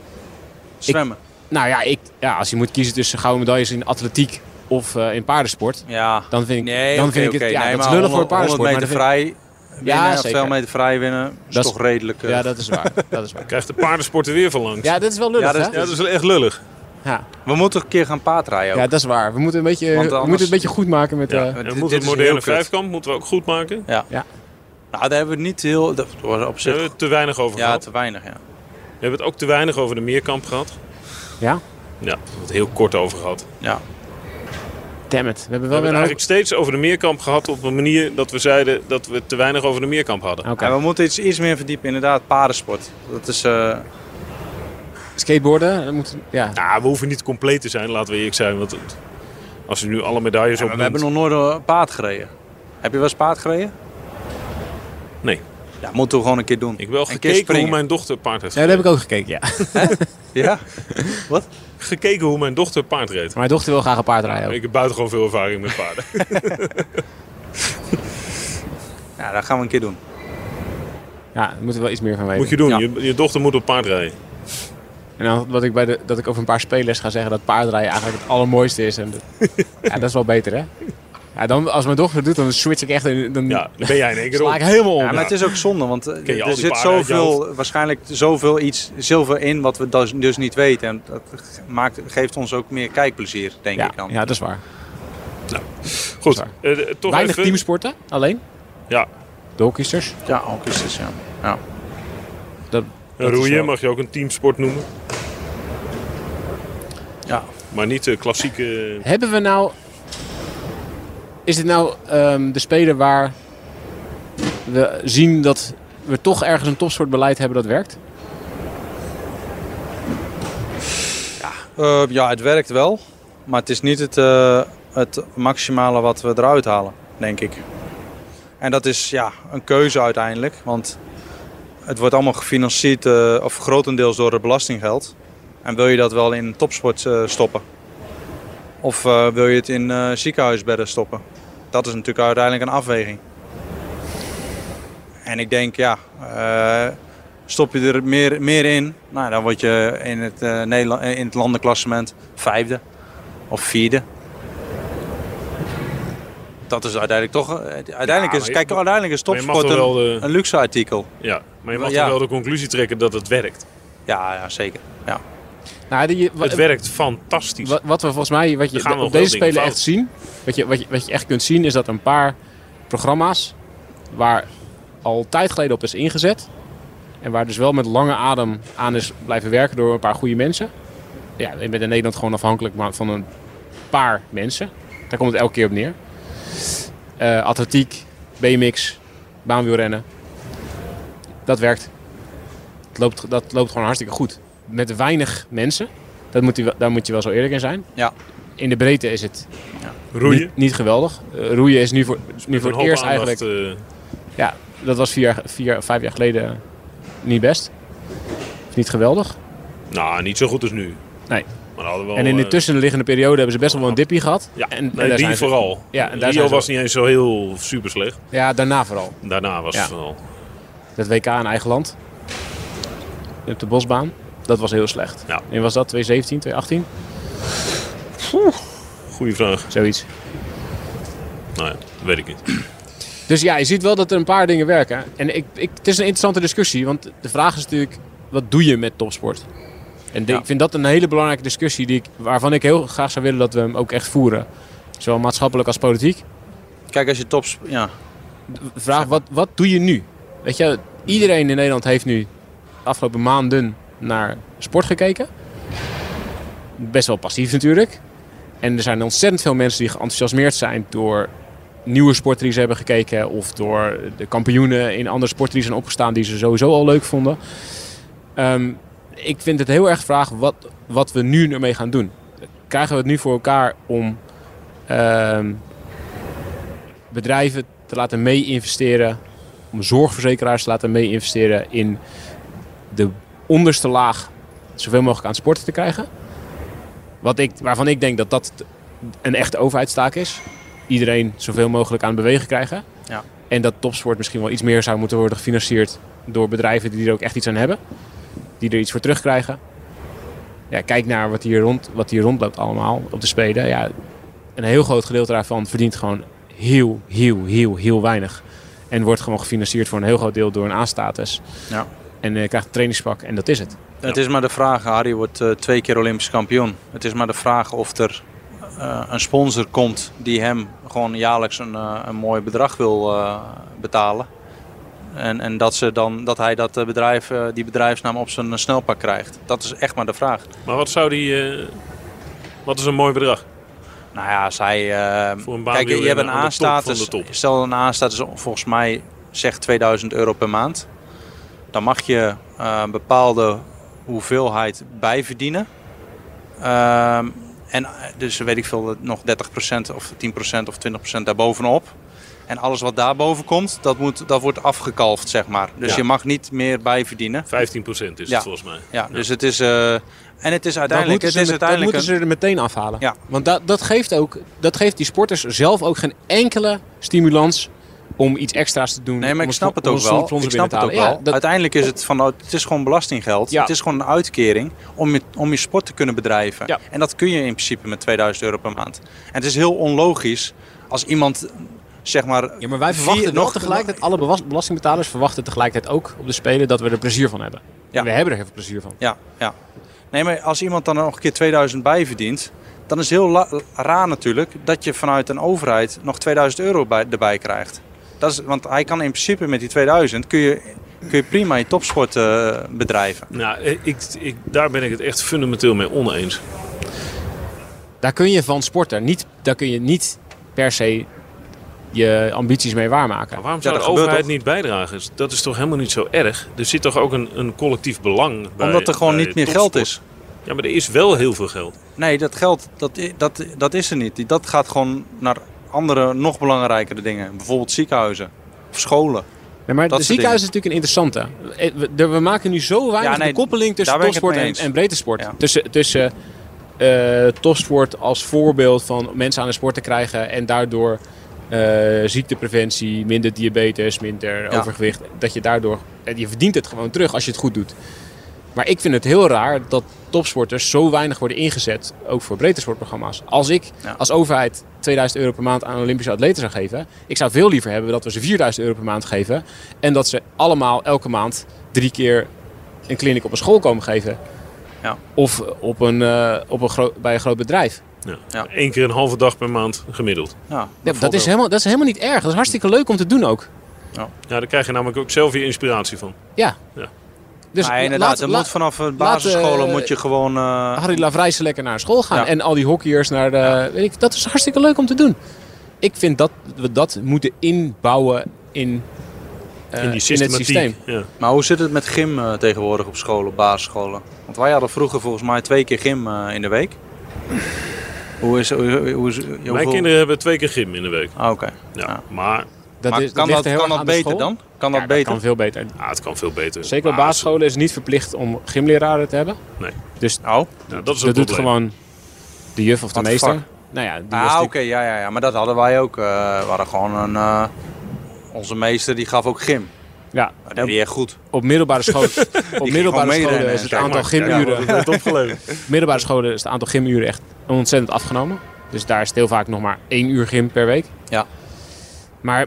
S4: zwemmen.
S5: Nou ja, ik, ja, als je moet kiezen tussen gouden medailles in atletiek of eh, in paardensport.
S4: Ja.
S5: Dan vind ik,
S4: Nee,
S5: dan
S4: oké,
S5: vind ik
S4: oké.
S5: het ja,
S4: Nee,
S5: dat is
S4: maar
S5: lullen voor
S4: 100
S5: paardensport.
S4: 100
S5: maar
S4: meter
S5: dat vind
S4: vrij winnen,
S5: Ja,
S4: of
S5: zeker.
S4: 2 meter vrij winnen, is
S5: Dat is-
S4: toch redelijk.
S5: ik-
S4: eh,
S5: ja, dat is waar. Dat is waar.
S3: Krijgt de paardensporten weer van langs.
S5: Ja, dat is wel lullig,
S4: Ja, dat is-
S5: hè?
S3: Ja, dat is wel echt lullig.
S5: Ja.
S4: We moeten een keer gaan paardrijden ook.
S5: ja, dat is waar. We moeten, een beetje,
S4: Want
S5: we moeten
S4: anders-
S5: het een beetje goed maken met... eh,
S3: Ja.
S5: Ja,
S3: En
S4: dit-
S3: we
S4: dit
S3: moeten
S4: is
S3: de
S4: heel
S3: moderne
S4: kut.
S3: vijfkamp moeten we ook goed maken. Daar
S4: Nou, daar hebben we niet heel... Dat was op
S3: hebben we
S4: zich...
S3: het te weinig over
S4: Ja,
S3: gehad.
S4: te weinig, ja.
S3: We hebben het ook te weinig over de meerkamp gehad.
S5: ja?
S3: Ja, we hebben het heel kort over gehad.
S4: ja.
S5: Damn it. We hebben
S3: We hebben het
S5: wel weer een hoop...
S3: eigenlijk steeds over de meerkamp gehad op een manier dat we zeiden dat we te weinig over de meerkamp hadden.
S5: Oké.
S4: En we moeten iets, iets meer verdiepen, inderdaad, paardensport. Dat is... eh,
S5: Skateboarden, dat moet... Ja.
S3: Nou, we hoeven niet compleet te zijn, laten we eerlijk zijn. Want het- als we nu alle medailles op
S4: we hebben nog nooit een paard gereden. Heb je wel eens paard gereden?
S3: Nee.
S4: Ja, moeten we gewoon een keer doen.
S3: Ik heb wel
S4: Een keer
S3: gekeken hoe
S4: springen.
S3: mijn dochter paard heeft.
S5: Ja, dat heb ik ook gekeken, ja.
S4: Ja?
S3: Gekeken hoe mijn dochter paard reed.
S5: Mijn dochter wil graag een paard rijden.
S3: Ik heb buitengewoon veel ervaring met paarden.
S4: Ja, dat gaan we een keer doen.
S5: Ja, daar moeten we wel iets meer van weten.
S3: moet je doen.
S4: Ja.
S3: Je, je dochter moet op paard rijden.
S5: En dan wat ik bij de, dat ik over een paar spelers ga zeggen dat paardrijden eigenlijk het allermooiste is. En dat, ja, dat is wel beter, hè? Ja, dan, als mijn dochter doet, dan switch ik echt. in- Dan
S3: Ja, dan ben jij in één keer
S5: sla
S3: op.
S5: ik helemaal om.
S4: Ja, maar het is ook zonde, want eh,
S3: Ken je al
S4: er
S3: die
S4: zit
S3: paarden uit je
S4: zoveel, waarschijnlijk zoveel iets zilver in wat we dus, dus niet weten. En dat ge- maakt, geeft ons ook meer kijkplezier, denk
S5: ja,
S4: ik dan.
S5: ja, dat is waar.
S3: Goed,
S5: Sorry.
S3: eh, eh, toch
S5: Weinig
S3: even...
S5: teamsporten, alleen.
S3: Ja,
S5: Doelkiesters.
S4: ja ook is het, ja. ja.
S5: Dat, dat is
S3: roeien
S5: wel-
S3: mag je ook een teamsport noemen.
S4: Ja.
S3: Maar niet de klassieke...
S5: Hebben we nou. Is dit nou ehm, de speler waar we zien dat we toch ergens een topsportbeleid hebben dat werkt?
S4: Eh, ja, het werkt wel, maar het is niet het, eh, het maximale wat we eruit halen, denk ik. En dat is ja, een keuze uiteindelijk, want het wordt allemaal gefinancierd, eh, of grotendeels door het belastinggeld. En wil je dat wel in topsport eh, stoppen? Of eh, wil je het in eh, ziekenhuisbedden stoppen? Dat is natuurlijk uiteindelijk een afweging. En ik denk, ja, eh, stop je er meer, meer in, nou, dan word je in het, eh, Nederla- eh, in het landenklassement vijfde of vierde. Dat is uiteindelijk toch. eh, Uiteindelijk
S3: Ja, maar
S4: is,
S3: je-
S4: kijk, uiteindelijk is
S3: maar je mag
S4: topsport een,
S3: toch wel eh, de-
S4: een luxe artikel.
S3: Ja, maar je mag
S4: Ja.
S3: toch wel de conclusie trekken dat het werkt.
S4: Ja, ja zeker. Ja.
S5: Nou, die, wa-
S3: Het werkt fantastisch.
S5: Wat, wat we volgens mij, wat
S3: Er
S5: je
S3: gaan
S5: op
S3: nog wel
S5: deze
S3: dingen
S5: spelen
S3: fout.
S5: echt zien, wat je, wat, je, wat je echt kunt zien, is dat een paar programma's waar al tijd geleden op is ingezet. En waar dus wel met lange adem aan is blijven werken door een paar goede mensen. Ja, je bent in Nederland gewoon afhankelijk maar van een paar mensen. Daar komt het elke keer op neer. Eh, atletiek, BMX, baanwielrennen. Dat werkt. Dat loopt, dat loopt gewoon hartstikke goed. Met weinig mensen. Dat moet je, wel- daar moet je wel zo eerlijk in zijn.
S4: Ja.
S5: In de breedte is het
S3: Roeien.
S5: Niet, niet geweldig. Eh, roeien is nu voor, nu voor
S3: Een
S5: het
S3: hoop
S5: eerst
S3: aandacht,
S5: eigenlijk.
S3: eh,
S5: Ja, dat was vier, jaar- vier, vijf jaar geleden eh, niet best. Of Niet geweldig.
S3: nou, niet zo goed als nu.
S5: Nee.
S3: Maar hadden we eh,
S5: en in de tussenliggende periode hebben ze best wel een dippie gehad.
S3: Ja,
S5: en, en
S3: nee,
S5: daar
S3: die
S5: zijn ze-
S3: vooral.
S5: ja, en daar
S3: Rio
S5: zijn ze-
S3: was niet eens zo heel super slecht.
S5: Ja, daarna vooral.
S3: Daarna was
S5: Ja.
S3: het wel...
S5: Dat WK in eigen land. Op de bosbaan. Dat was heel slecht.
S3: Ja.
S5: En was dat 2017, 2018?
S3: Goeie vraag.
S5: Zoiets.
S3: Nou ja, weet ik niet.
S5: Dus ja, je ziet wel dat er een paar dingen werken. En ik, ik, het is een interessante discussie, want de vraag is natuurlijk, wat doe je met topsport? En de- ik vind dat een hele belangrijke discussie die ik, waarvan ik heel graag zou willen dat we hem ook echt voeren. Zowel maatschappelijk als politiek.
S4: Kijk, als je tops. Ja.
S5: De vraag, wat, wat doe je nu? Weet je, iedereen in Nederland heeft nu de afgelopen maanden naar sport gekeken. Best wel passief natuurlijk. En er zijn ontzettend veel mensen die geenthousiasmeerd zijn door nieuwe sporten die ze hebben gekeken. Of door de kampioenen in andere sporten die zijn opgestaan die ze sowieso al leuk vonden. Ehm, ik vind het heel erg de vraag wat, wat we nu ermee gaan doen. Krijgen we het nu voor elkaar om ehm, bedrijven te laten mee-investeren, om zorgverzekeraars te laten mee-investeren in de onderste laag zoveel mogelijk aan sporten te krijgen. Wat ik, waarvan ik denk dat dat een echte overheidstaak is. Iedereen zoveel mogelijk aan het bewegen krijgen.
S4: Ja.
S5: En dat topsport misschien wel iets meer zou moeten worden gefinancierd door bedrijven die er ook echt iets aan hebben. Die er iets voor terugkrijgen. Ja, kijk naar wat hier, rond, wat hier rondloopt allemaal op de Spelen. Ja, een heel groot gedeelte daarvan verdient gewoon heel, heel, heel, heel weinig. En wordt gewoon gefinancierd voor een heel groot deel door een A-status.
S4: Ja.
S5: En eh, krijgt een trainingspak en dat is het.
S4: Het is maar de vraag, Harry wordt eh, twee keer Olympisch kampioen. Het is maar de vraag of er eh, een sponsor komt die hem gewoon jaarlijks een, eh, een mooi bedrag wil eh, betalen. En, en dat, ze dan, dat hij dat eh, bedrijf, eh, die bedrijfsnaam op zijn eh, snelpak krijgt. Dat is echt maar de vraag.
S3: Maar wat zou die... eh, wat is een mooi bedrag?
S4: Nou ja, als hij. eh,
S3: Voor een
S4: kijk, je
S3: baanwielrenner
S4: hebt een
S3: aan de top
S4: A-status.
S3: van de top.
S4: Stel een A-status, volgens mij zegt 2000 euro per maand. Dan mag je eh, een bepaalde hoeveelheid bijverdienen. Ehm, en eh, dus weet ik veel, nog 30% of 10% of 20% daarbovenop. En alles wat daarboven komt, dat, moet, dat wordt afgekalfd, zeg maar. Dus
S3: Ja.
S4: je mag niet meer bijverdienen.
S3: 15% is het
S4: Ja.
S3: volgens mij.
S4: Ja, dus het is. eh, en het is
S5: Dat
S4: uiteindelijk.
S5: moeten,
S4: Het
S5: ze,
S4: is
S5: met- dat
S4: uiteindelijk
S5: moeten
S4: een,
S5: ze er meteen afhalen.
S4: Ja.
S5: Want dat, dat, geeft ook, dat geeft die sporters zelf ook geen enkele stimulans om iets extra's te doen.
S4: Nee, maar
S5: om
S4: ik snap
S5: spon-
S4: het ook
S5: om een
S4: wel.
S5: sponsor
S4: Ik snap het
S5: binnen
S4: ook
S5: te halen.
S4: wel.
S5: Ja, dat-
S4: Uiteindelijk is het van, oh, het is gewoon belastinggeld.
S5: Ja.
S4: Het is gewoon een uitkering om je, om je sport te kunnen bedrijven.
S5: Ja.
S4: En dat kun je in principe met 2000 euro per maand. En het is heel onlogisch als iemand, zeg maar...
S5: Ja, maar wij
S4: vier-
S5: verwachten nog
S4: nog-
S5: tegelijkertijd, alle bewas- belastingbetalers verwachten tegelijkertijd ook op de Spelen dat we er plezier van hebben.
S4: Ja.
S5: En we hebben er heel veel plezier van.
S4: Ja, ja. Nee, maar als iemand dan nog een keer 2000 bij verdient... dan is het heel la- raar natuurlijk dat je vanuit een overheid nog 2000 euro bij, erbij krijgt. Dat is, want hij kan in principe met die 2000 kun je, kun je prima je topsport eh, bedrijven.
S3: Nou, ik, ik, daar ben ik het echt fundamenteel mee oneens.
S5: Daar kun je van sporter niet, daar kun je niet per se je ambities mee waarmaken.
S3: Maar waarom
S4: Ja,
S3: zou
S4: dat
S3: de
S4: gebeurt
S3: overheid
S4: toch?
S3: niet bijdragen? Dat is toch helemaal niet zo erg? Er zit toch ook een, een collectief belang bij
S4: Omdat er gewoon
S3: bij
S4: niet meer
S3: topsport?
S4: geld is.
S3: Ja, maar er is wel heel veel geld.
S4: Nee, dat geld, dat, i- dat, dat is er niet. Die- Dat gaat gewoon naar andere, nog belangrijkere dingen. Bijvoorbeeld ziekenhuizen of scholen.
S5: Nee,
S4: Dat
S5: maar de
S4: soort
S5: ziekenhuis is natuurlijk een interessante. Eh, We, er- we maken nu zo weinig
S4: Ja, nee,
S5: de koppeling tussen
S4: daar ben ik het
S5: topsport
S4: mee
S5: en,
S4: eens.
S5: en breedtesport.
S4: Ja.
S5: Tussen, tussen eh, topsport als voorbeeld van mensen aan de sport te krijgen en daardoor eh, ziektepreventie, minder diabetes, minder
S4: Ja.
S5: overgewicht. Dat je daardoor, eh, je verdient het gewoon terug als je het goed doet. Maar ik vind het heel raar dat topsporters zo weinig worden ingezet, ook voor breedtesportprogramma's. Als ik
S4: Ja.
S5: als overheid 2000 euro per maand aan Olympische atleten zou geven, ik zou veel liever hebben dat we ze 4000 euro per maand geven en dat ze allemaal elke maand drie keer een clinic op een school komen geven.
S4: Ja.
S5: Of op een, eh, op een gro- bij een groot bedrijf.
S3: Ja.
S4: Ja.
S3: Eén keer een halve dag per maand gemiddeld.
S4: Ja,
S5: Ja, dat, is helemaal, dat is helemaal niet erg. Dat is hartstikke leuk om te doen ook.
S3: Ja, daar krijg je namelijk ook zelf je inspiratie van.
S5: Ja.
S3: Ja.
S5: Dus
S4: maar inderdaad,
S5: laat,
S4: er
S5: laat-
S4: moet vanaf de basisscholen
S5: eh,
S4: moet je gewoon... eh,
S5: Harry Lavrijsen lekker naar school gaan.
S4: Ja.
S5: En al die hockeyers naar de... Weet ik, dat is hartstikke leuk om te doen. Ik vind dat we dat moeten inbouwen in, eh,
S3: in die
S5: in het
S3: systematiek.
S5: systeem.
S3: Ja.
S4: Maar hoe zit het met gym eh, tegenwoordig op scholen, op basisscholen? Want wij hadden vroeger volgens mij twee keer gym eh, in de week. Hoe is... Hoe, hoe, hoe is hoeveel-
S3: Mijn kinderen hebben twee keer gym in de week.
S4: Ah, oké.
S3: Ja,
S4: Ja.
S3: Maar
S5: Dat
S4: Maar
S5: is,
S4: kan
S5: ligt
S4: dat,
S5: er heel
S4: kan
S5: erg
S4: dat
S5: aan de
S4: beter
S5: school.
S4: dan? Kan
S5: Ja,
S4: dat beter?
S5: kan veel beter.
S3: ah, het kan veel beter.
S5: Zeker op
S3: Maar
S5: basisscholen is het niet verplicht om gymleraren te hebben.
S4: Oh,
S3: nou, dat is
S5: dat
S3: een
S5: doet
S3: probleem.
S5: gewoon de juf of de
S4: Wat de
S5: meester.
S4: fuck?
S5: Nou ja, die was
S4: ah,
S5: die-
S4: oké. ja, ja, ja, maar dat hadden wij ook. eh, we hadden gewoon een... eh, onze meester die gaf ook gym.
S5: ja,
S4: Dat deed hij echt goed.
S5: op middelbare scholen, op middelbare
S4: meerennen
S5: scholen
S4: en
S5: is het
S4: kijk
S5: aantal
S3: maar, kijk maar
S5: gymuren
S3: wat het heeft opgeleverd.
S5: middelbare scholen is het aantal gymuren echt ontzettend afgenomen. Dus daar is het heel vaak nog maar één uur gym per week.
S4: Ja.
S5: Maar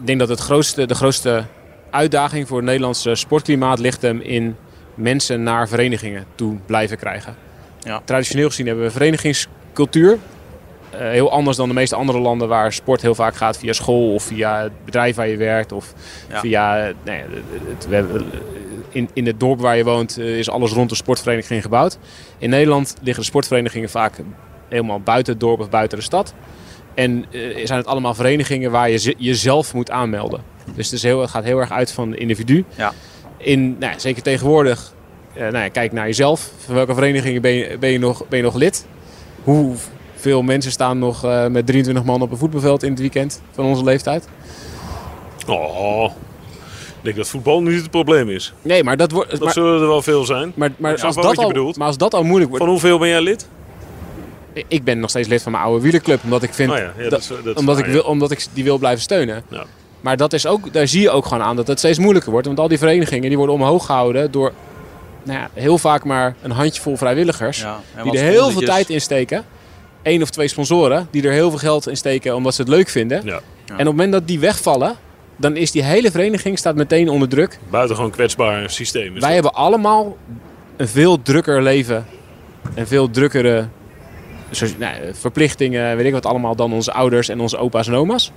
S5: ik denk dat het grootste, de grootste uitdaging voor het Nederlandse sportklimaat ligt hem in mensen naar verenigingen toe blijven krijgen.
S4: Ja.
S5: Traditioneel gezien hebben we verenigingscultuur. Eh, heel anders dan de meeste andere landen waar sport heel vaak gaat via school of via het bedrijf waar je werkt. Of
S4: Ja.
S5: via, eh, nou ja, het- het- we hebben- in, in het dorp waar je woont eh, is alles rond de sportvereniging gebouwd. In Nederland liggen de sportverenigingen vaak helemaal buiten het dorp of buiten de stad. En eh, zijn het allemaal verenigingen waar je ze- jezelf moet aanmelden. Dus het, is heel, het gaat heel erg uit van de individu.
S4: Ja.
S5: In, nou, ja, zeker tegenwoordig, eh, nou ja, kijk naar jezelf. Van welke verenigingen ben je, ben je, nog, ben je nog lid? Hoeveel mensen staan nog eh, met 23 man op een voetbalveld in het weekend van onze leeftijd?
S3: Oh, ik denk dat voetbal niet het probleem is.
S5: Nee, maar dat wordt.
S3: Dat
S5: Maar,
S3: zullen er wel veel zijn.
S5: maar, maar,
S3: Ja,
S5: als
S3: wat
S5: dat
S3: je
S5: al,
S3: bedoelt.
S5: maar als dat al moeilijk wordt.
S3: Van hoeveel ben jij lid?
S5: Ik ben nog steeds lid van mijn oude wielerclub. Omdat ik vind.
S3: Oh ja, ja, dat
S5: dat-
S3: is- dat is
S5: omdat,
S3: waar,
S5: ik
S3: ja.
S5: wil, omdat ik die wil blijven steunen.
S3: Ja.
S5: Maar dat is ook, daar zie je ook gewoon aan dat het steeds moeilijker wordt. Want al die verenigingen die worden omhoog gehouden door nou ja, heel vaak maar een handjevol vrijwilligers.
S4: Ja, en
S5: die
S4: wat
S5: er heel veel
S4: sponsortjes.
S5: tijd in steken. Eén of twee sponsoren die er heel veel geld in steken omdat ze het leuk vinden.
S3: Ja.
S5: En op het moment dat die wegvallen, dan is die hele vereniging staat meteen onder druk.
S3: Buitengewoon kwetsbaar systeem. Is
S5: Wij hebben allemaal een veel drukker leven. En veel drukkere zo- nou, verplichtingen, weet ik wat allemaal, dan onze ouders en onze opa's en oma's.
S3: dat.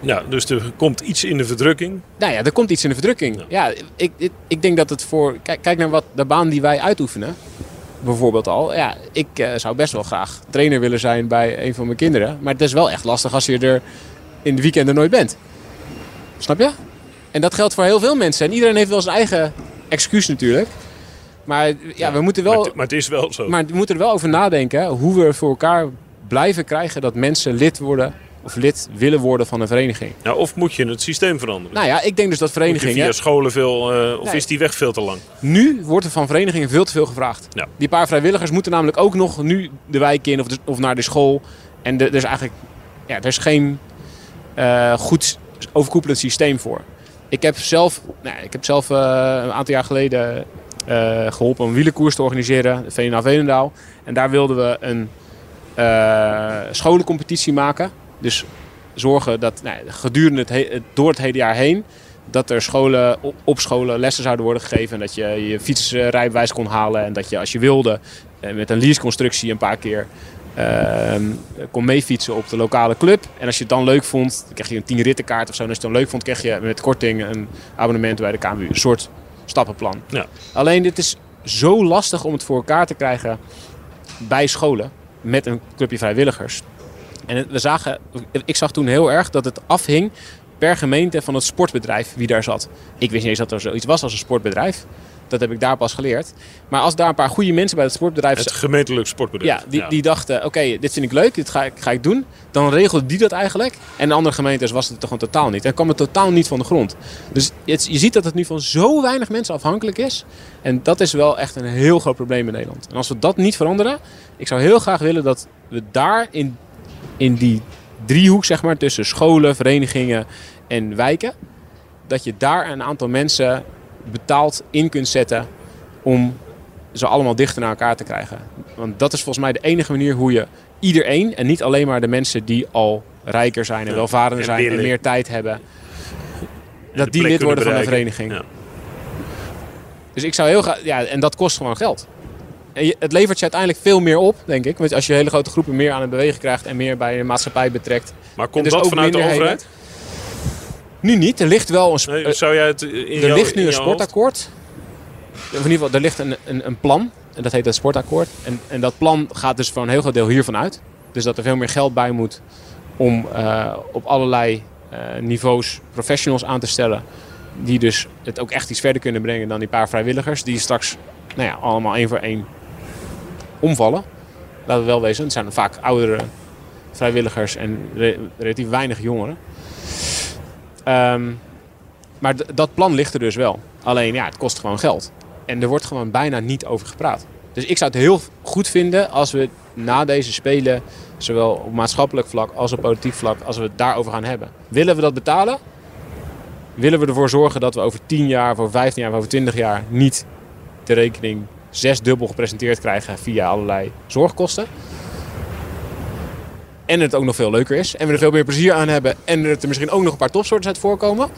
S3: Ja, dus er komt iets in de verdrukking.
S5: Nou ja, er komt iets in de verdrukking. Ja, ik, ik, ik denk dat het voor... Kijk, kijk naar wat, de baan die wij uitoefenen, bijvoorbeeld al. Ja, ik eh, zou best wel graag trainer willen zijn bij een van mijn kinderen. Maar het is wel echt lastig als je er in de weekenden nooit bent. Snap je? En dat geldt voor heel veel mensen. En iedereen heeft wel zijn eigen excuus natuurlijk. Maar ja, we moeten wel...
S3: Maar, het- maar het is wel zo.
S5: Maar we moeten er wel over nadenken hoe we voor elkaar blijven krijgen dat mensen lid worden of lid willen worden van een vereniging.
S3: Nou, of moet je het systeem veranderen?
S5: Nou ja, ik denk dus dat
S3: Moet je
S5: verenigingen.
S3: via scholen veel, eh, of
S5: Nee.
S3: is die weg veel te lang?
S5: Nu wordt er van verenigingen veel te veel gevraagd.
S3: Ja.
S5: Die paar vrijwilligers moeten namelijk ook nog nu de wijk in of, de- of naar de school. En de- er is eigenlijk. Ja, er is geen eh, goed s- overkoepelend systeem voor. Ik heb zelf, nou, ik heb zelf eh, een aantal jaar geleden eh, geholpen om een wielerkoers te organiseren, de VNA Veenendaal. En daar wilden we een eh, scholencompetitie maken. Dus zorgen dat nou, gedurende het, he- het- door het hele jaar heen dat er scholen, op, op scholen lessen zouden worden gegeven. En dat je je fietsrijbewijs kon halen. En dat je als je wilde eh, met een leaseconstructie een paar keer ehm, kon meefietsen op de lokale club. En als je het dan leuk vond, dan kreeg je een 10 rittenkaart of zo. En als je het dan leuk vond, kreeg je met korting een abonnement bij de KMU. Een soort stappenplan.
S3: Ja.
S5: Alleen dit is zo lastig om het voor elkaar te krijgen bij scholen. Met een clubje vrijwilligers. En het- we zagen, ik zag toen heel erg dat het afhing per gemeente van het sportbedrijf wie daar zat. Ik wist niet eens dat er zoiets was als een sportbedrijf. Dat heb ik daar pas geleerd. Maar als daar een paar goede mensen bij het sportbedrijf
S3: Het gemeentelijk sportbedrijf.
S5: ja, die, die dachten, oké, dit vind ik leuk, dit ga ik, ga ik doen. Dan regelde die dat eigenlijk. En de andere gemeentes was het toch gewoon totaal niet. En kwam het totaal niet van de grond. Dus het, je ziet dat het nu van zo weinig mensen afhankelijk is. En dat is wel echt een heel groot probleem in Nederland. En als we dat niet veranderen, ik zou heel graag willen dat we daar in, in die driehoek, zeg maar, tussen scholen, verenigingen en wijken, dat je daar een aantal mensen betaald in kunt zetten om ze allemaal dichter naar elkaar te krijgen. Want dat is volgens mij de enige manier hoe je iedereen, en niet alleen maar de mensen die al rijker zijn en
S3: Ja,
S5: welvarender
S3: en
S5: zijn en
S3: willen.
S5: meer tijd hebben,
S3: En
S5: dat
S3: de
S5: die
S3: plek
S5: lid
S3: kunnen
S5: worden van een
S3: bereiken.
S5: vereniging.
S3: Ja.
S5: Dus ik zou heel graag, ja, en dat kost gewoon geld. En je- het levert je uiteindelijk veel meer op, denk ik. Want als je hele grote groepen meer aan het bewegen krijgt en meer bij de maatschappij betrekt.
S3: Maar
S5: en
S3: komt
S5: dus
S3: dat
S5: ook
S3: vanuit de
S5: minderheden-
S3: overheid?
S5: Nu niet, er ligt wel een, sp-
S3: Nee, zou jij het in
S5: er
S3: jouw-
S5: ligt nu
S3: in
S5: een
S3: jouw hoofd-
S5: sportakkoord. Of in ieder geval, er ligt een, een, een plan. En dat heet het sportakkoord. En, en dat plan gaat dus voor een heel groot deel hiervan uit. Dus dat er veel meer geld bij moet om eh, op allerlei eh, niveaus professionals aan te stellen. Die dus het ook echt iets verder kunnen brengen dan die paar vrijwilligers. Die straks nou ja, allemaal één voor één omvallen. Laten we wel wezen, het zijn vaak oudere vrijwilligers en re- relatief weinig jongeren. Ehm, maar d- dat plan ligt er dus wel. Alleen ja, het kost gewoon geld. En er wordt gewoon bijna niet over gepraat. Dus ik zou het heel goed vinden als we na deze spelen, zowel op maatschappelijk vlak als op politiek vlak, als we het daarover gaan hebben. Willen we dat betalen? Willen we ervoor zorgen dat we over 10 jaar, of over 15 jaar, of over 20 jaar niet de rekening zesdubbel gepresenteerd krijgen via allerlei zorgkosten? En het ook nog veel leuker is. En we er veel meer plezier aan hebben. En er er misschien ook nog een paar topsoorten uit voorkomen.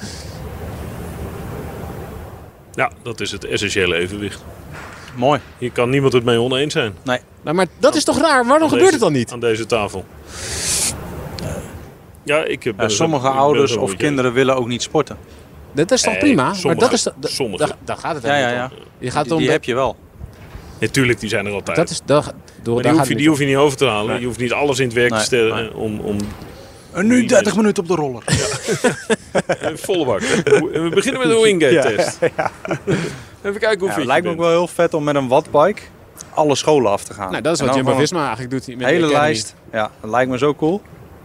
S3: Ja, dat is het essentiële evenwicht.
S4: Mooi.
S3: Hier kan niemand het mee oneens zijn.
S5: Nou, maar dat is toch raar? Waarom
S3: Aan
S5: gebeurt het
S3: deze-
S5: dan niet?
S3: Aan deze tafel. Ja, ik eh, ben
S4: Ja,
S3: het-
S4: sommige
S3: ik ben
S4: ouders
S3: het
S4: of
S3: met je eens.
S4: kinderen willen ook niet sporten.
S5: Dat is toch
S3: Nee,
S5: prima? Maar
S3: Eh, sommige-
S5: dat is toch- da-
S3: sommige.
S5: da- Daar gaat het
S4: Ja, ja,
S5: eigenlijk
S4: ja.
S5: om. Je gaat
S4: Die,
S5: om
S4: die
S5: de-
S4: heb je wel.
S3: Natuurlijk, die zijn er altijd.
S5: Dat is, da, door,
S3: maar
S5: daar
S3: die, hoef
S5: gaat
S3: je,
S5: het
S3: die
S5: niet
S3: hoef je niet over te halen.
S4: Nee.
S3: Je hoeft niet alles in het werk
S4: Nee,
S3: te stellen
S4: nee.
S3: eh, om, om
S6: En nu
S3: 30
S6: minuten op de roller.
S3: eh, volle bak. We beginnen met een wingate-test. Even kijken hoe
S4: Ja,
S3: fit je
S4: lijkt me ook
S3: bent.
S4: wel heel vet om met een wattbike alle scholen af te gaan.
S5: om. Nou, dat is
S4: En
S5: wat
S4: dan
S5: Jumbo
S4: gewoon
S5: Visma eigenlijk doet. Met
S4: een
S5: de
S4: hele
S5: Academy.
S4: lijst. Ja, dat lijkt me zo cool.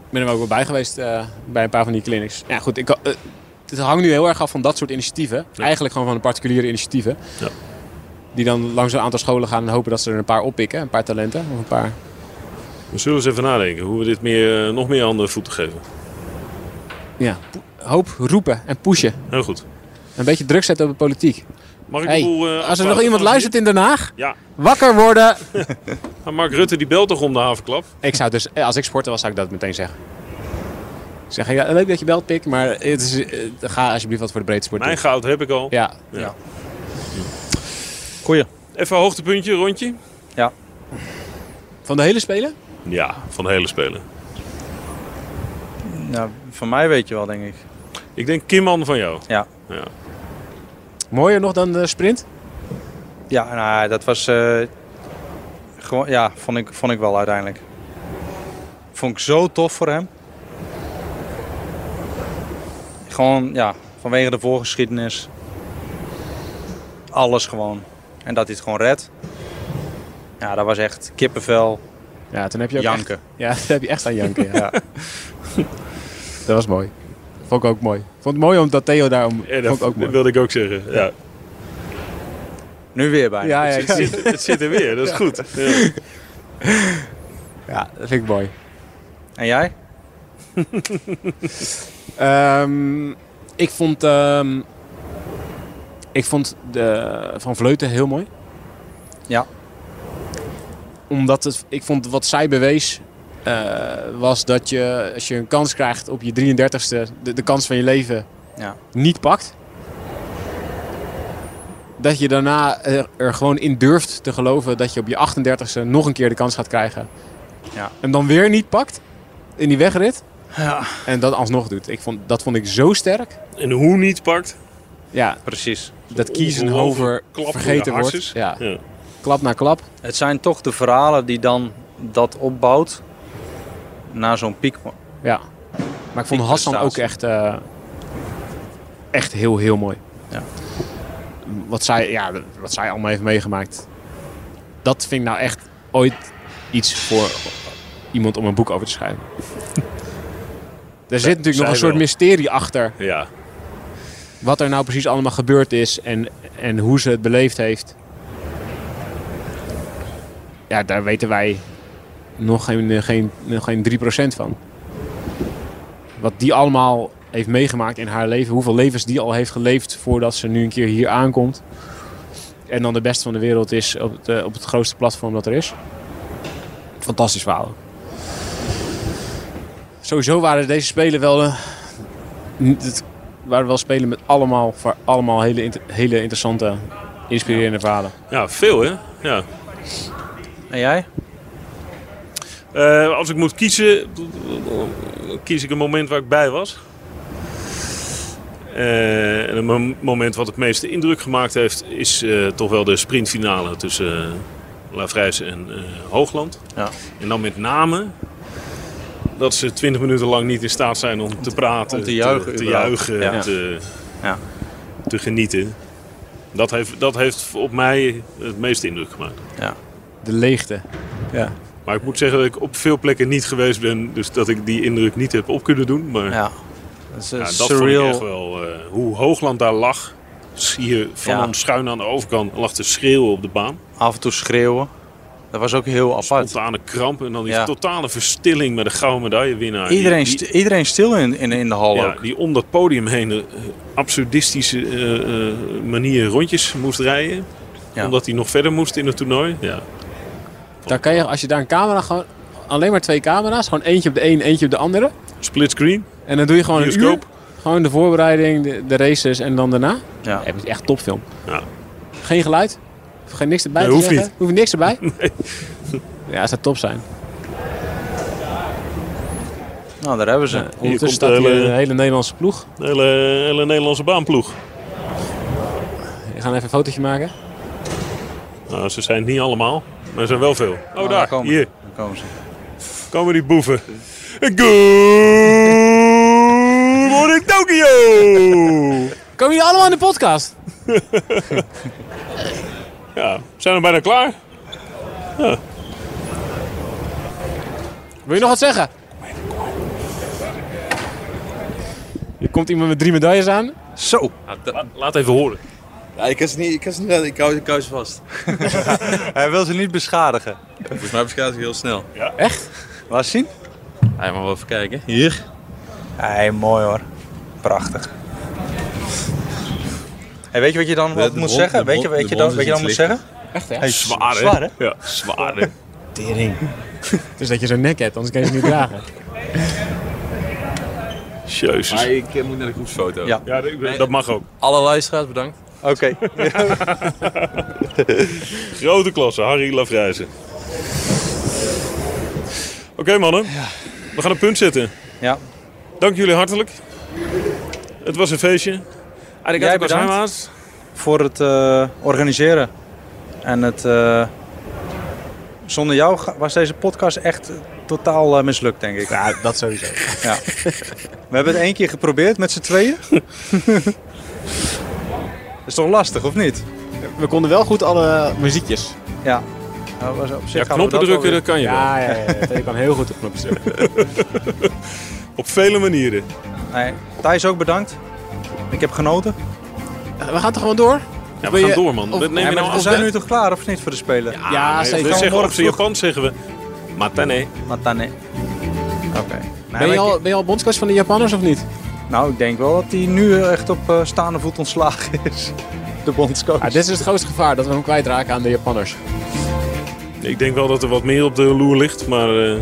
S5: Ik ben er ook wel bij geweest eh, bij een paar van die clinics. Ja, goed. Ik, kan- eh, het hangt nu heel erg af van dat soort initiatieven. Eigenlijk gewoon van de particuliere initiatieven.
S3: Ja.
S5: Die dan langs een aantal scholen gaan en hopen dat ze er een paar oppikken. Een paar talenten of een paar...
S3: We zullen eens even nadenken hoe we dit meer, eh, nog meer handen en voeten geven.
S5: Ja, po- hoop roepen en pushen.
S3: Heel goed.
S5: Een beetje druk zetten op de politiek.
S3: Mag ik
S5: Hey,
S3: de boel, eh,
S5: als er
S3: afsluiten
S5: nog iemand
S3: vanaf
S5: luistert in Den Haag,
S3: hier? Ja,
S5: wakker worden.
S3: maar Mark Rutte die belt toch om de havenklap?
S5: Ik zou dus, eh, als ik sporter was, zou ik dat meteen zeggen. Ik zeg, ja, leuk dat je belt, Pik, maar het is, eh, ga alsjeblieft wat voor de breedte sport
S3: Mijn
S5: doen.
S3: goud heb ik al.
S5: Ja,
S4: Goeie.
S3: Even een hoogtepuntje, rondje.
S5: van de hele Spelen?
S3: Ja, van de hele spelen.
S4: Nou, van mij weet je wel, denk ik.
S3: Ik denk Kimman van jou.
S4: Ja,
S3: Ja.
S5: Mooier nog dan de sprint?
S4: ja nou, dat was... eh, gewoon, ja, vond ik, vond ik wel uiteindelijk. Vond ik zo tof voor hem. Gewoon, ja, vanwege de voorgeschiedenis. Alles gewoon. En dat hij het gewoon redt. Ja, dat was echt kippenvel,
S5: Ja, toen heb je ook
S4: janken.
S5: Echt, ja, toen heb je echt aan janken. Ja.
S4: Ja.
S5: dat was mooi. Vond ik ook mooi. Vond het mooi omdat Theo daarom...
S3: Ja, Eh,
S5: vond
S3: dat,
S5: ik ook
S3: dat
S5: mooi.
S3: wilde ik ook zeggen. Ja.
S4: Nu weer bij.
S5: Ja, ja, ik
S3: Het,
S5: zie-
S3: zit, het zit er weer, dat is goed. Ja.
S5: ja, dat vind ik mooi.
S4: En jij?
S5: Ehm, ik vond, ehm, ik vond de, Van Vleuten heel mooi.
S4: Ja.
S5: Omdat het, ik vond wat zij bewees, eh, was dat je als je een kans krijgt op je 33ste, de, de kans van je leven,
S4: Ja.
S5: niet pakt. Dat je daarna er, er gewoon in durft te geloven dat je op je 38ste nog een keer de kans gaat krijgen.
S4: Ja.
S5: En dan weer niet pakt in die wegrit.
S4: Ja.
S5: En dat alsnog doet. Ik vond, dat vond ik zo sterk.
S3: En hoe niet pakt.
S5: Ja,
S4: Precies.
S5: dat Kiezenhover
S3: Klap door de
S5: vergeten wordt.
S3: harses.
S5: Ja,
S3: Ja.
S5: klap na klap.
S4: Het zijn toch de verhalen die dan dat opbouwt naar zo'n piek.
S5: Ja. Maar ik vond
S4: Die
S5: Hassan ook
S4: prestatie.
S5: echt, eh, echt heel, heel mooi.
S4: Ja.
S5: Wat, zij, ja, wat zij allemaal heeft meegemaakt. Dat vind ik nou echt ooit iets voor iemand om een boek over te schrijven. Er zit natuurlijk nog
S3: zij
S5: een soort
S3: wel.
S5: mysterie achter.
S3: Ja.
S5: wat er nou precies allemaal gebeurd is en, en hoe ze het beleefd heeft. Ja, daar weten wij nog geen, eh, geen, nog geen 3% van. Wat die allemaal heeft meegemaakt in haar leven. Hoeveel levens die al heeft geleefd voordat ze nu een keer hier aankomt. En dan de beste van de wereld is op het, eh, op het grootste platform dat er is. Fantastisch verhaal. Sowieso waren deze spelen wel... eh, n- het waren wel spelen met allemaal, voor allemaal hele, inter- hele interessante, inspirerende verhalen.
S3: ja, veel hè. Ja.
S4: En jij?
S3: Eh, als ik moet kiezen, kies ik een moment waar ik bij was. Eh, en een mom- moment wat het meeste indruk gemaakt heeft, is eh, toch wel de sprintfinale tussen eh, Lavrijs en eh, Hoogland.
S4: Ja.
S3: En dan met name dat ze 20 minuten lang niet in staat zijn om te praten,
S4: om te juichen
S3: te,
S4: überhaupt.
S3: juichen,
S4: Ja.
S3: Te,
S4: Ja.
S3: te genieten. Dat heeft, dat heeft op mij het meeste indruk gemaakt.
S5: De leegte. Ja.
S3: Maar ik moet zeggen dat ik op veel plekken niet geweest ben, dus dat ik die indruk niet heb op kunnen doen. Maar ja,
S4: Ja. Dat is een
S3: dat vond ik echt
S4: surreal.
S3: wel. eh, hoe Hoogland daar lag, zie je van
S4: Ja.
S3: hem schuin aan de overkant lag te schreeuwen op de baan.
S4: Af en toe schreeuwen. Dat was ook heel apart.
S3: Spontane kramp en dan die
S4: Ja.
S3: totale verstilling met de gouden medaillewinnaar. Die-
S4: Iedereen,
S3: die,
S4: st- iedereen stil in, in, in de hal
S3: ja,
S4: ook.
S3: die om dat podium heen de eh, absurdistische eh, eh, manier rondjes moest rijden.
S4: Ja.
S3: Omdat hij nog verder moest in het toernooi. Ja.
S5: Daar kan je, als je daar een camera gewoon, alleen maar twee camera's, gewoon eentje op de een, eentje op de andere.
S3: Split screen,
S5: En dan doe je gewoon een uur.
S3: bioscoop.
S5: Gewoon de voorbereiding, de, de races en dan daarna.
S4: Ja.
S5: Ja, het is echt topfilm.
S3: Ja.
S5: Geen geluid. Geen niks erbij
S3: Nee,
S5: te
S3: hoeft
S5: zeggen.
S3: niet.
S5: Hoeft niks erbij. Ja, het zou top zijn.
S4: Nou, daar hebben ze.
S5: Ondertussen
S3: komt eh,
S5: staat
S3: de
S5: hier
S3: hele-
S5: een hele Nederlandse ploeg.
S3: De hele, hele Nederlandse baanploeg.
S5: We gaan even een fotootje maken.
S3: Nou, ze zijn niet allemaal, maar er zijn wel veel. Oh,
S4: Oh,
S3: daar,
S4: komen,
S3: hier.
S4: ze. daar komen ze.
S3: komen die boeven. Good morning Tokyo!
S5: Komen jullie allemaal in de podcast?
S3: Ja, zijn we bijna klaar?
S5: Wil je nog wat zeggen? Hier komt iemand met drie medailles aan.
S4: Zo.
S3: La- laat even horen.
S8: Ja, ik kan ze niet, ik kan ze niet laten- ik hou, ik hou ze vast.
S4: Hij wil ze niet beschadigen.
S8: Volgens mij beschadigt hij heel snel.
S4: Laat zien.
S8: Hij mag wel even kijken. Hier.
S4: Hey, mooi hoor. Prachtig. Hey, weet je wat je dan
S8: De-
S4: wat
S8: de
S4: moet
S8: bron-
S4: zeggen?
S8: de
S4: Weet je,
S8: bron-
S4: weet
S8: de
S4: je
S8: bron
S4: dan, weet je dan
S8: is
S4: moet
S8: iets
S4: zeggen?
S5: Echt hè?
S4: Hey,
S3: Zwaar, hè?
S4: Zwaar, hè?
S3: Ja, zwaar, hè?
S5: Tering. Het is dat je zo'n nek hebt, anders kan je ze niet dragen.
S8: Maar
S3: Jezus.
S8: ik eh, moet naar de groepsfoto.
S4: Ja.
S3: Ja, dat- dat mag ook.
S8: Alle luisteraars bedankt.
S4: Oké.
S3: Grote klasse, Harry Lafrijzen. Oké, mannen. We gaan een punt zetten.
S4: Ja.
S3: Dank jullie hartelijk. Het was een feestje.
S4: Jij bedankt
S3: Maas.
S4: voor het eh, organiseren. En het... eh, zonder jou ga- was deze podcast echt eh, totaal eh, mislukt, denk ik.
S5: Ja, dat sowieso.
S4: We hebben het één keer geprobeerd met z'n tweeën. Dat is toch lastig, of niet?
S5: We konden wel goed alle muziekjes.
S4: Ja. Nou, was op zich
S3: Ja,
S4: hadden we
S3: knoppen
S4: dat
S3: drukken,
S4: wel
S3: dat kan je wel.
S5: Ja, ja, ja. ja. Je kan heel goed op knopjes drukken.
S3: Op vele manieren.
S4: weer- Nee. Thijs ook bedankt. Ik heb genoten.
S5: We gaan toch gewoon door?
S3: Ja, we
S5: Wil
S3: gaan
S5: je-
S3: door, man. Wat neem
S4: Ja,
S3: je
S4: maar
S3: nou
S4: we
S3: af?
S4: zijn nu toch klaar, of niet, voor de Spelen? Ja.
S5: Ja,
S3: We
S5: zeker.
S3: zeggen op
S4: morgen
S3: zijn
S4: vroeg.
S3: Japans zeggen we... Matane.
S4: Matane. Oké.
S5: Ben je,
S4: maar
S5: al,
S4: ik-
S5: ben je al bondscoach van de Japanners of niet?
S4: Nou, ik denk wel dat hij nu eh, echt op eh, staande voet ontslagen is. De bondscoach.
S5: Ah, dit is het grootste gevaar, dat we hem kwijtraken aan de Japanners.
S3: Ik denk wel dat er wat meer op de loer ligt, maar eh,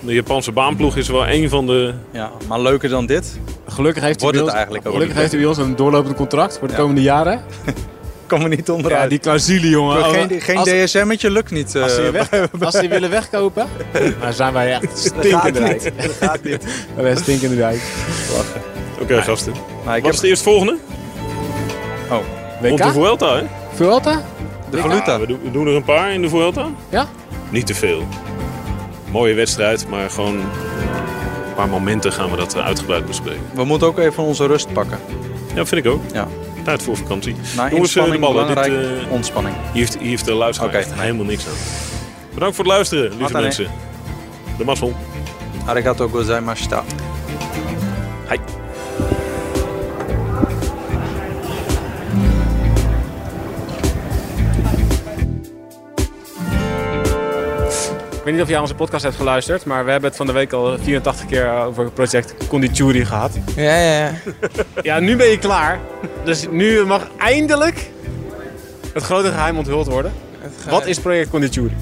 S3: de Japanse baanploeg is wel een van de...
S4: Ja, maar leuker dan dit
S5: Gelukkig heeft hij
S4: wordt het
S5: bij ons,
S4: eigenlijk ook.
S5: gelukkig heeft hij bij ons een doorlopend contract voor de
S4: Ja.
S5: komende jaren.
S4: Kom er niet onderuit.
S5: Ja, die clausule, jongen.
S4: Maar
S5: Oh,
S4: geen geen
S5: als,
S4: DSM'tje lukt niet.
S5: als, ze
S4: eh,
S5: je weg, als ze je willen wegkopen, dan zijn wij echt stinkende
S4: gaat niet.
S5: rijk.
S4: Dat gaat niet.
S5: Wij zijn stinkende rijk.
S3: Oké, gasten.
S4: Maar ik
S3: Wat
S4: heb
S3: is de eerstvolgende? Rond de
S5: WK?
S3: Vuelta, hè?
S5: Vuelta?
S4: de
S3: Ja,
S4: valuta.
S3: we, doen, we doen er een paar in de Vuelta.
S5: Ja?
S3: Niet te veel. Mooie wedstrijd, maar gewoon een paar momenten gaan we dat eh, uitgebreid bespreken.
S4: We moeten ook even onze rust pakken.
S3: Ja, vind ik ook.
S4: Ja.
S3: Tijd voor vakantie. Jongens, eh, de
S4: Na Nou, inspanning,
S3: ballen. Dit,
S4: belangrijk
S3: eh,
S4: ontspanning.
S3: Hier heeft, hier heeft de luisteraar
S4: Oké.
S3: echt helemaal niks aan. Bedankt voor het luisteren, lieve
S4: Matane.
S3: mensen. De mazzel.
S4: Arigato gozaimashita.
S5: Ik weet niet of je aan onze podcast hebt geluisterd, maar we hebben het van de week al 84 keer over project Condituri gehad.
S9: Ja, ja, ja.
S5: Ja, nu ben je klaar. Dus nu mag eindelijk het grote geheim onthuld worden.
S9: Het gaat-
S5: Wat is project Condituri?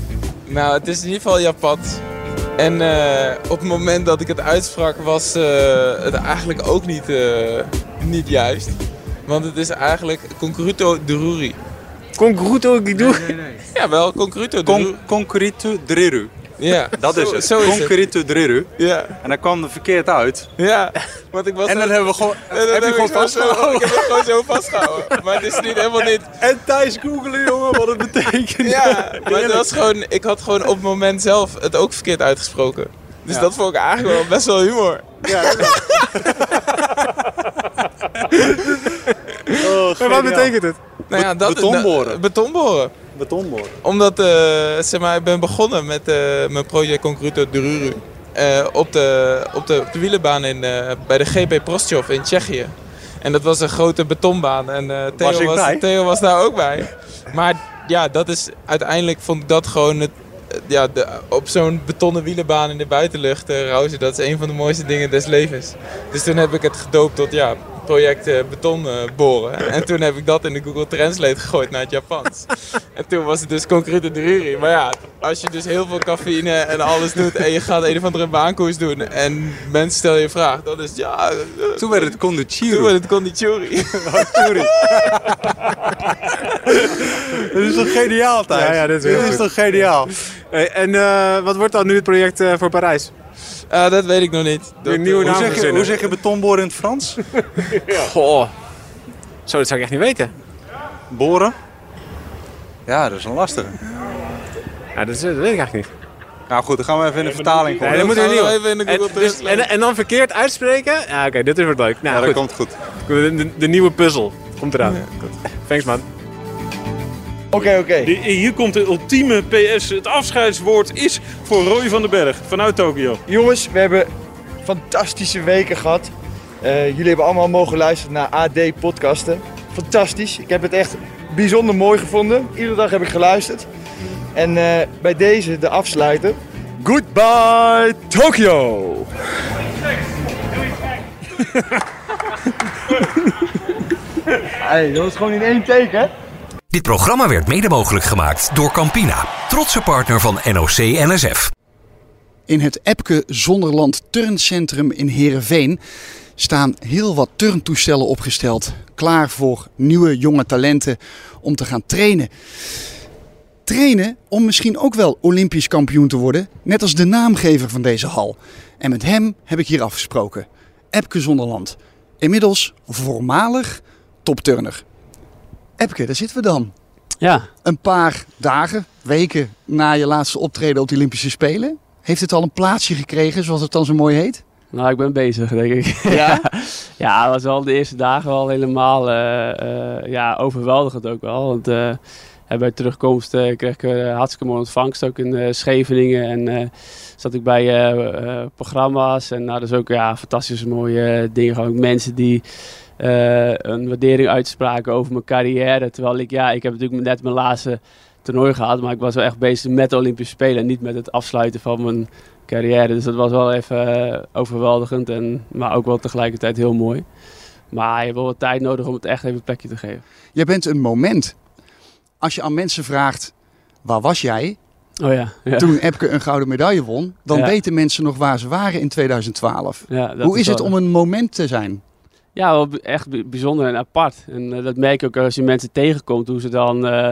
S9: Nou, het is in ieder geval Japan. En eh, op het moment dat ik het uitsprak, was eh, het eigenlijk ook niet, eh, niet juist. Want het is eigenlijk Concruto de Ruri.
S5: Congruto Gidu.
S9: Ja, wel, Concruto de Ruri.
S4: Con concurritu driru.
S9: Ja,
S4: Dat is
S9: zo,
S4: het.
S9: Zo is het.
S4: concurritu driru.
S9: Ja,
S4: En dat kwam er verkeerd uit.
S9: ja. Want ik was
S4: En dan hebben we gewoon...
S9: en dan
S4: heb je
S9: ik
S4: gewoon
S9: zo-
S4: vastgehouden?
S9: Ik heb het gewoon zo vastgehouden. Maar het is niet helemaal niet...
S4: En Thijs googelen, jongen, wat het betekent.
S9: Ja, maar het was gewoon, ik had gewoon op het moment zelf het ook verkeerd uitgesproken. Dus dat vond ik eigenlijk wel best wel humor.
S5: Maar wat betekent het?
S9: Nou ja, dat,
S4: betonboren.
S9: betonboren.
S4: Betonboor.
S9: Omdat, eh, zeg maar, ik ben begonnen met eh, mijn project Concreto de Ruru. eh, op, de, op, de, op de wielenbaan in, eh, bij de GP Prostschof in Tsjechië. En dat was een grote betonbaan. En eh, Theo,
S4: Was ik bij?
S9: Theo was daar ook bij. Maar ja, dat is, uiteindelijk vond ik dat gewoon het... eh, Ja, de, op zo'n betonnen wielenbaan in de buitenlucht, eh rauzen, dat is een van de mooiste dingen des levens. Dus toen heb ik het gedoopt tot ja, project eh, beton eh, boren. En toen heb ik dat in de Google Translate gegooid naar het Japans. En toen was het dus concrete druri. Maar ja, als je dus heel veel cafeïne en alles doet en je gaat een of andere baankoers doen en mensen stellen je vraag, dan is het, ja... eh,
S4: Toen werd het conduciru.
S9: Toen werd het conditiori.
S4: Dit is toch geniaal, Thijs?
S5: Ja, ja, dit is heel goed.
S4: toch geniaal?
S5: Hey, en eh, wat wordt dan nu het project eh, voor Parijs?
S9: Ah, dat weet ik nog niet. Dat,
S5: Een nieuwe
S9: eh,
S5: naam
S4: Hoe zeg, je,
S5: verzinnen.
S4: hoe zeg je betonboren in het Frans?
S5: Goh. Zo, dat zou ik echt niet weten.
S4: Boren? Ja, dat is een lastige.
S5: Ja, dat, is- dat weet ik eigenlijk niet.
S4: Nou goed, dan gaan we even in de vertaling
S5: Nee,
S4: gooien.
S5: dan
S9: dan
S5: moeten we
S9: gaan we
S5: nieuw.
S9: even in de Google
S5: en, dus-
S9: Translate.
S5: en, en dan verkeerd uitspreken? Ja, oké, dit is wat leuk. Nou,
S4: Ja, dat
S5: goed.
S4: komt goed.
S5: De, de- de nieuwe puzzel komt eraan. Thanks, man.
S3: De- hier komt de ultieme PS. Het afscheidswoord is voor Roy van den Berg vanuit Tokio.
S10: Jongens, we hebben fantastische weken gehad. Eh, jullie hebben allemaal mogen luisteren naar AD-podcasten. Fantastisch. Ik heb het echt bijzonder mooi gevonden. Iedere dag heb ik geluisterd. En eh, bij deze de afsluiter. Goodbye Tokyo! hey, dat was gewoon in één teken, hè?
S2: Dit programma werd mede mogelijk gemaakt door Campina, trotse partner van NOC NSF.
S6: In het Epke Zonderland Turncentrum in Heerenveen staan heel wat turntoestellen opgesteld. Klaar voor nieuwe jonge talenten om te gaan trainen. Trainen om misschien ook wel Olympisch kampioen te worden, net als de naamgever van deze hal. En met hem heb ik hier afgesproken. Epke Zonderland, inmiddels voormalig topturner. Epke, daar zitten we dan.
S7: Ja,
S6: Een paar dagen, weken na je laatste optreden op de Olympische Spelen. Heeft het al een plaatsje gekregen, zoals het dan zo mooi heet?
S7: nou, ik ben bezig, denk ik.
S6: Ja?
S7: Ja, het was wel de eerste dagen wel helemaal eh, eh, ja, overweldigend ook wel. Want eh, ja, bij terugkomst eh, kreeg ik eh, hartstikke mooie ontvangst ook in eh, Scheveningen. En eh, zat ik bij eh, eh, programma's en nou, dus ook ja, fantastische mooie eh, dingen. Gewoon ook mensen die eh, een waardering uitspraken over mijn carrière. Terwijl ik, ja, ik heb natuurlijk net mijn laatste toernooi gehad. Maar ik was wel echt bezig met de Olympische Spelen en niet met het afsluiten van mijn carrière. Dus dat was wel even eh, overweldigend, en, maar ook wel tegelijkertijd heel mooi. Maar je hebt wel wat tijd nodig om het echt even een plekje te geven.
S6: Jij bent een moment. Als je aan mensen vraagt, waar was jij
S7: Oh ja, ja.
S6: toen Epke een gouden medaille won? Dan
S7: Ja.
S6: weten mensen nog waar ze waren in 2012.
S7: ja dat
S6: Hoe is het
S7: wel-
S6: om een moment te zijn?
S7: Ja, wel b- echt b- bijzonder en apart. En eh, dat merk je ook als je mensen tegenkomt, hoe ze dan, eh,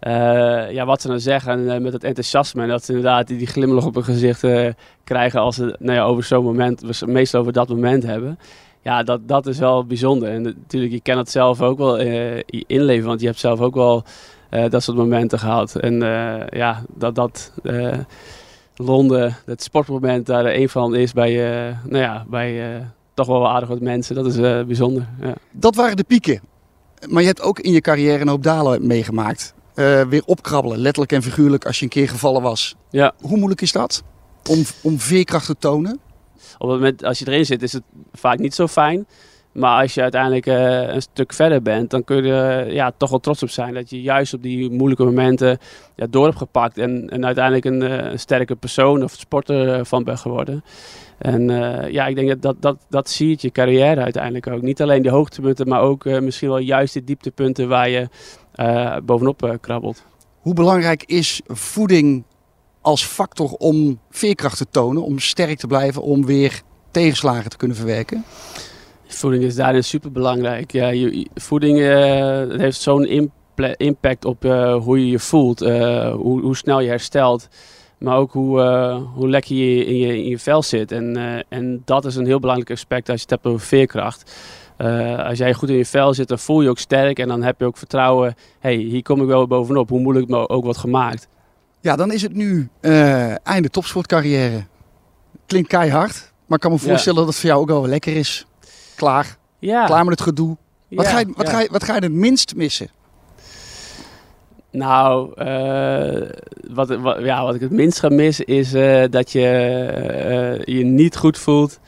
S7: eh, ja, wat ze dan zeggen en, eh, met dat enthousiasme. En dat ze inderdaad die, die glimlach op hun gezicht eh, krijgen als ze nou ja, over zo'n moment, we s- meestal over dat moment hebben. Ja, dat, dat is wel bijzonder. En natuurlijk, je kan het zelf ook wel eh, i- inleven, want je hebt zelf ook wel eh, dat soort momenten gehad. En eh, ja, dat dat eh, Londen, dat sportmoment daar een van is bij, eh, nou ja, bij... eh, toch wel aardig wat mensen. Dat is eh, bijzonder. Ja.
S6: Dat waren de pieken. Maar je hebt ook in je carrière een hoop dalen meegemaakt. Eh, weer opkrabbelen, letterlijk en figuurlijk, als je een keer gevallen was.
S7: Ja.
S6: Hoe moeilijk is dat? Om, om veerkracht te tonen?
S7: Op het moment als je erin zit, is het vaak niet zo fijn. Maar als je uiteindelijk eh, een stuk verder bent, dan kun je er ja, toch wel trots op zijn. Dat je juist op die moeilijke momenten ja, door hebt gepakt. En, en uiteindelijk een, eh, een sterke persoon of sporter eh, van bent geworden. En eh, ja, ik denk dat dat, dat dat siert je carrière uiteindelijk ook. Niet alleen die hoogtepunten, maar ook eh, misschien wel juist die dieptepunten waar je eh, bovenop eh, krabbelt.
S6: Hoe belangrijk is voeding als factor om veerkracht te tonen, om sterk te blijven, om weer tegenslagen te kunnen verwerken?
S7: Voeding is daarin super belangrijk. Ja, je, je- voeding eh, het heeft zo'n imple- impact op eh, hoe je je voelt, eh, hoe, hoe snel je herstelt, maar ook hoe, eh, hoe lekker je in je, in je vel zit. En, eh, en dat is een heel belangrijk aspect als je het hebt over veerkracht. Eh, als jij goed in je vel zit, dan voel je je ook sterk en dan heb je ook vertrouwen. hey, hier kom ik wel bovenop, hoe moeilijk het me ook wordt gemaakt.
S6: Ja, dan is het nu eh, einde topsportcarrière. Klinkt keihard, maar ik kan me
S7: Ja.
S6: voorstellen dat het voor jou ook wel weer lekker is. Klaar,
S7: Ja,
S6: klaar met het gedoe. Wat,
S7: ja,
S6: ga je, wat,
S7: ja.
S6: ga je, wat ga je het minst missen?
S7: Nou, eh, wat, wat- ja, wat ik het minst ga missen is eh, dat je eh, je niet goed voelt,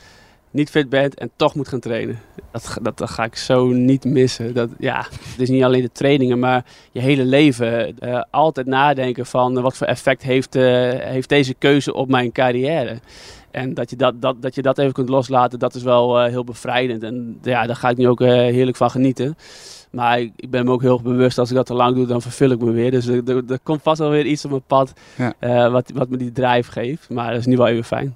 S7: niet fit bent en toch moet gaan trainen. Dat, ga- dat, dat ga ik zo niet missen. Dat, ja, het is niet alleen de trainingen, maar je hele leven. Eh, altijd nadenken van eh, wat voor effect heeft, eh, heeft deze keuze op mijn carrière. En dat je dat, dat, dat je dat even kunt loslaten, dat is wel eh, heel bevrijdend. En ja, daar ga ik nu ook eh, heerlijk van genieten. Maar ik, ik ben me ook heel erg bewust, als ik dat te lang doe, dan vervul ik me weer. Dus er, er- er komt vast wel weer iets op mijn pad
S6: Ja.
S7: eh, wat, wat me die drive geeft. Maar dat is nu wel even fijn.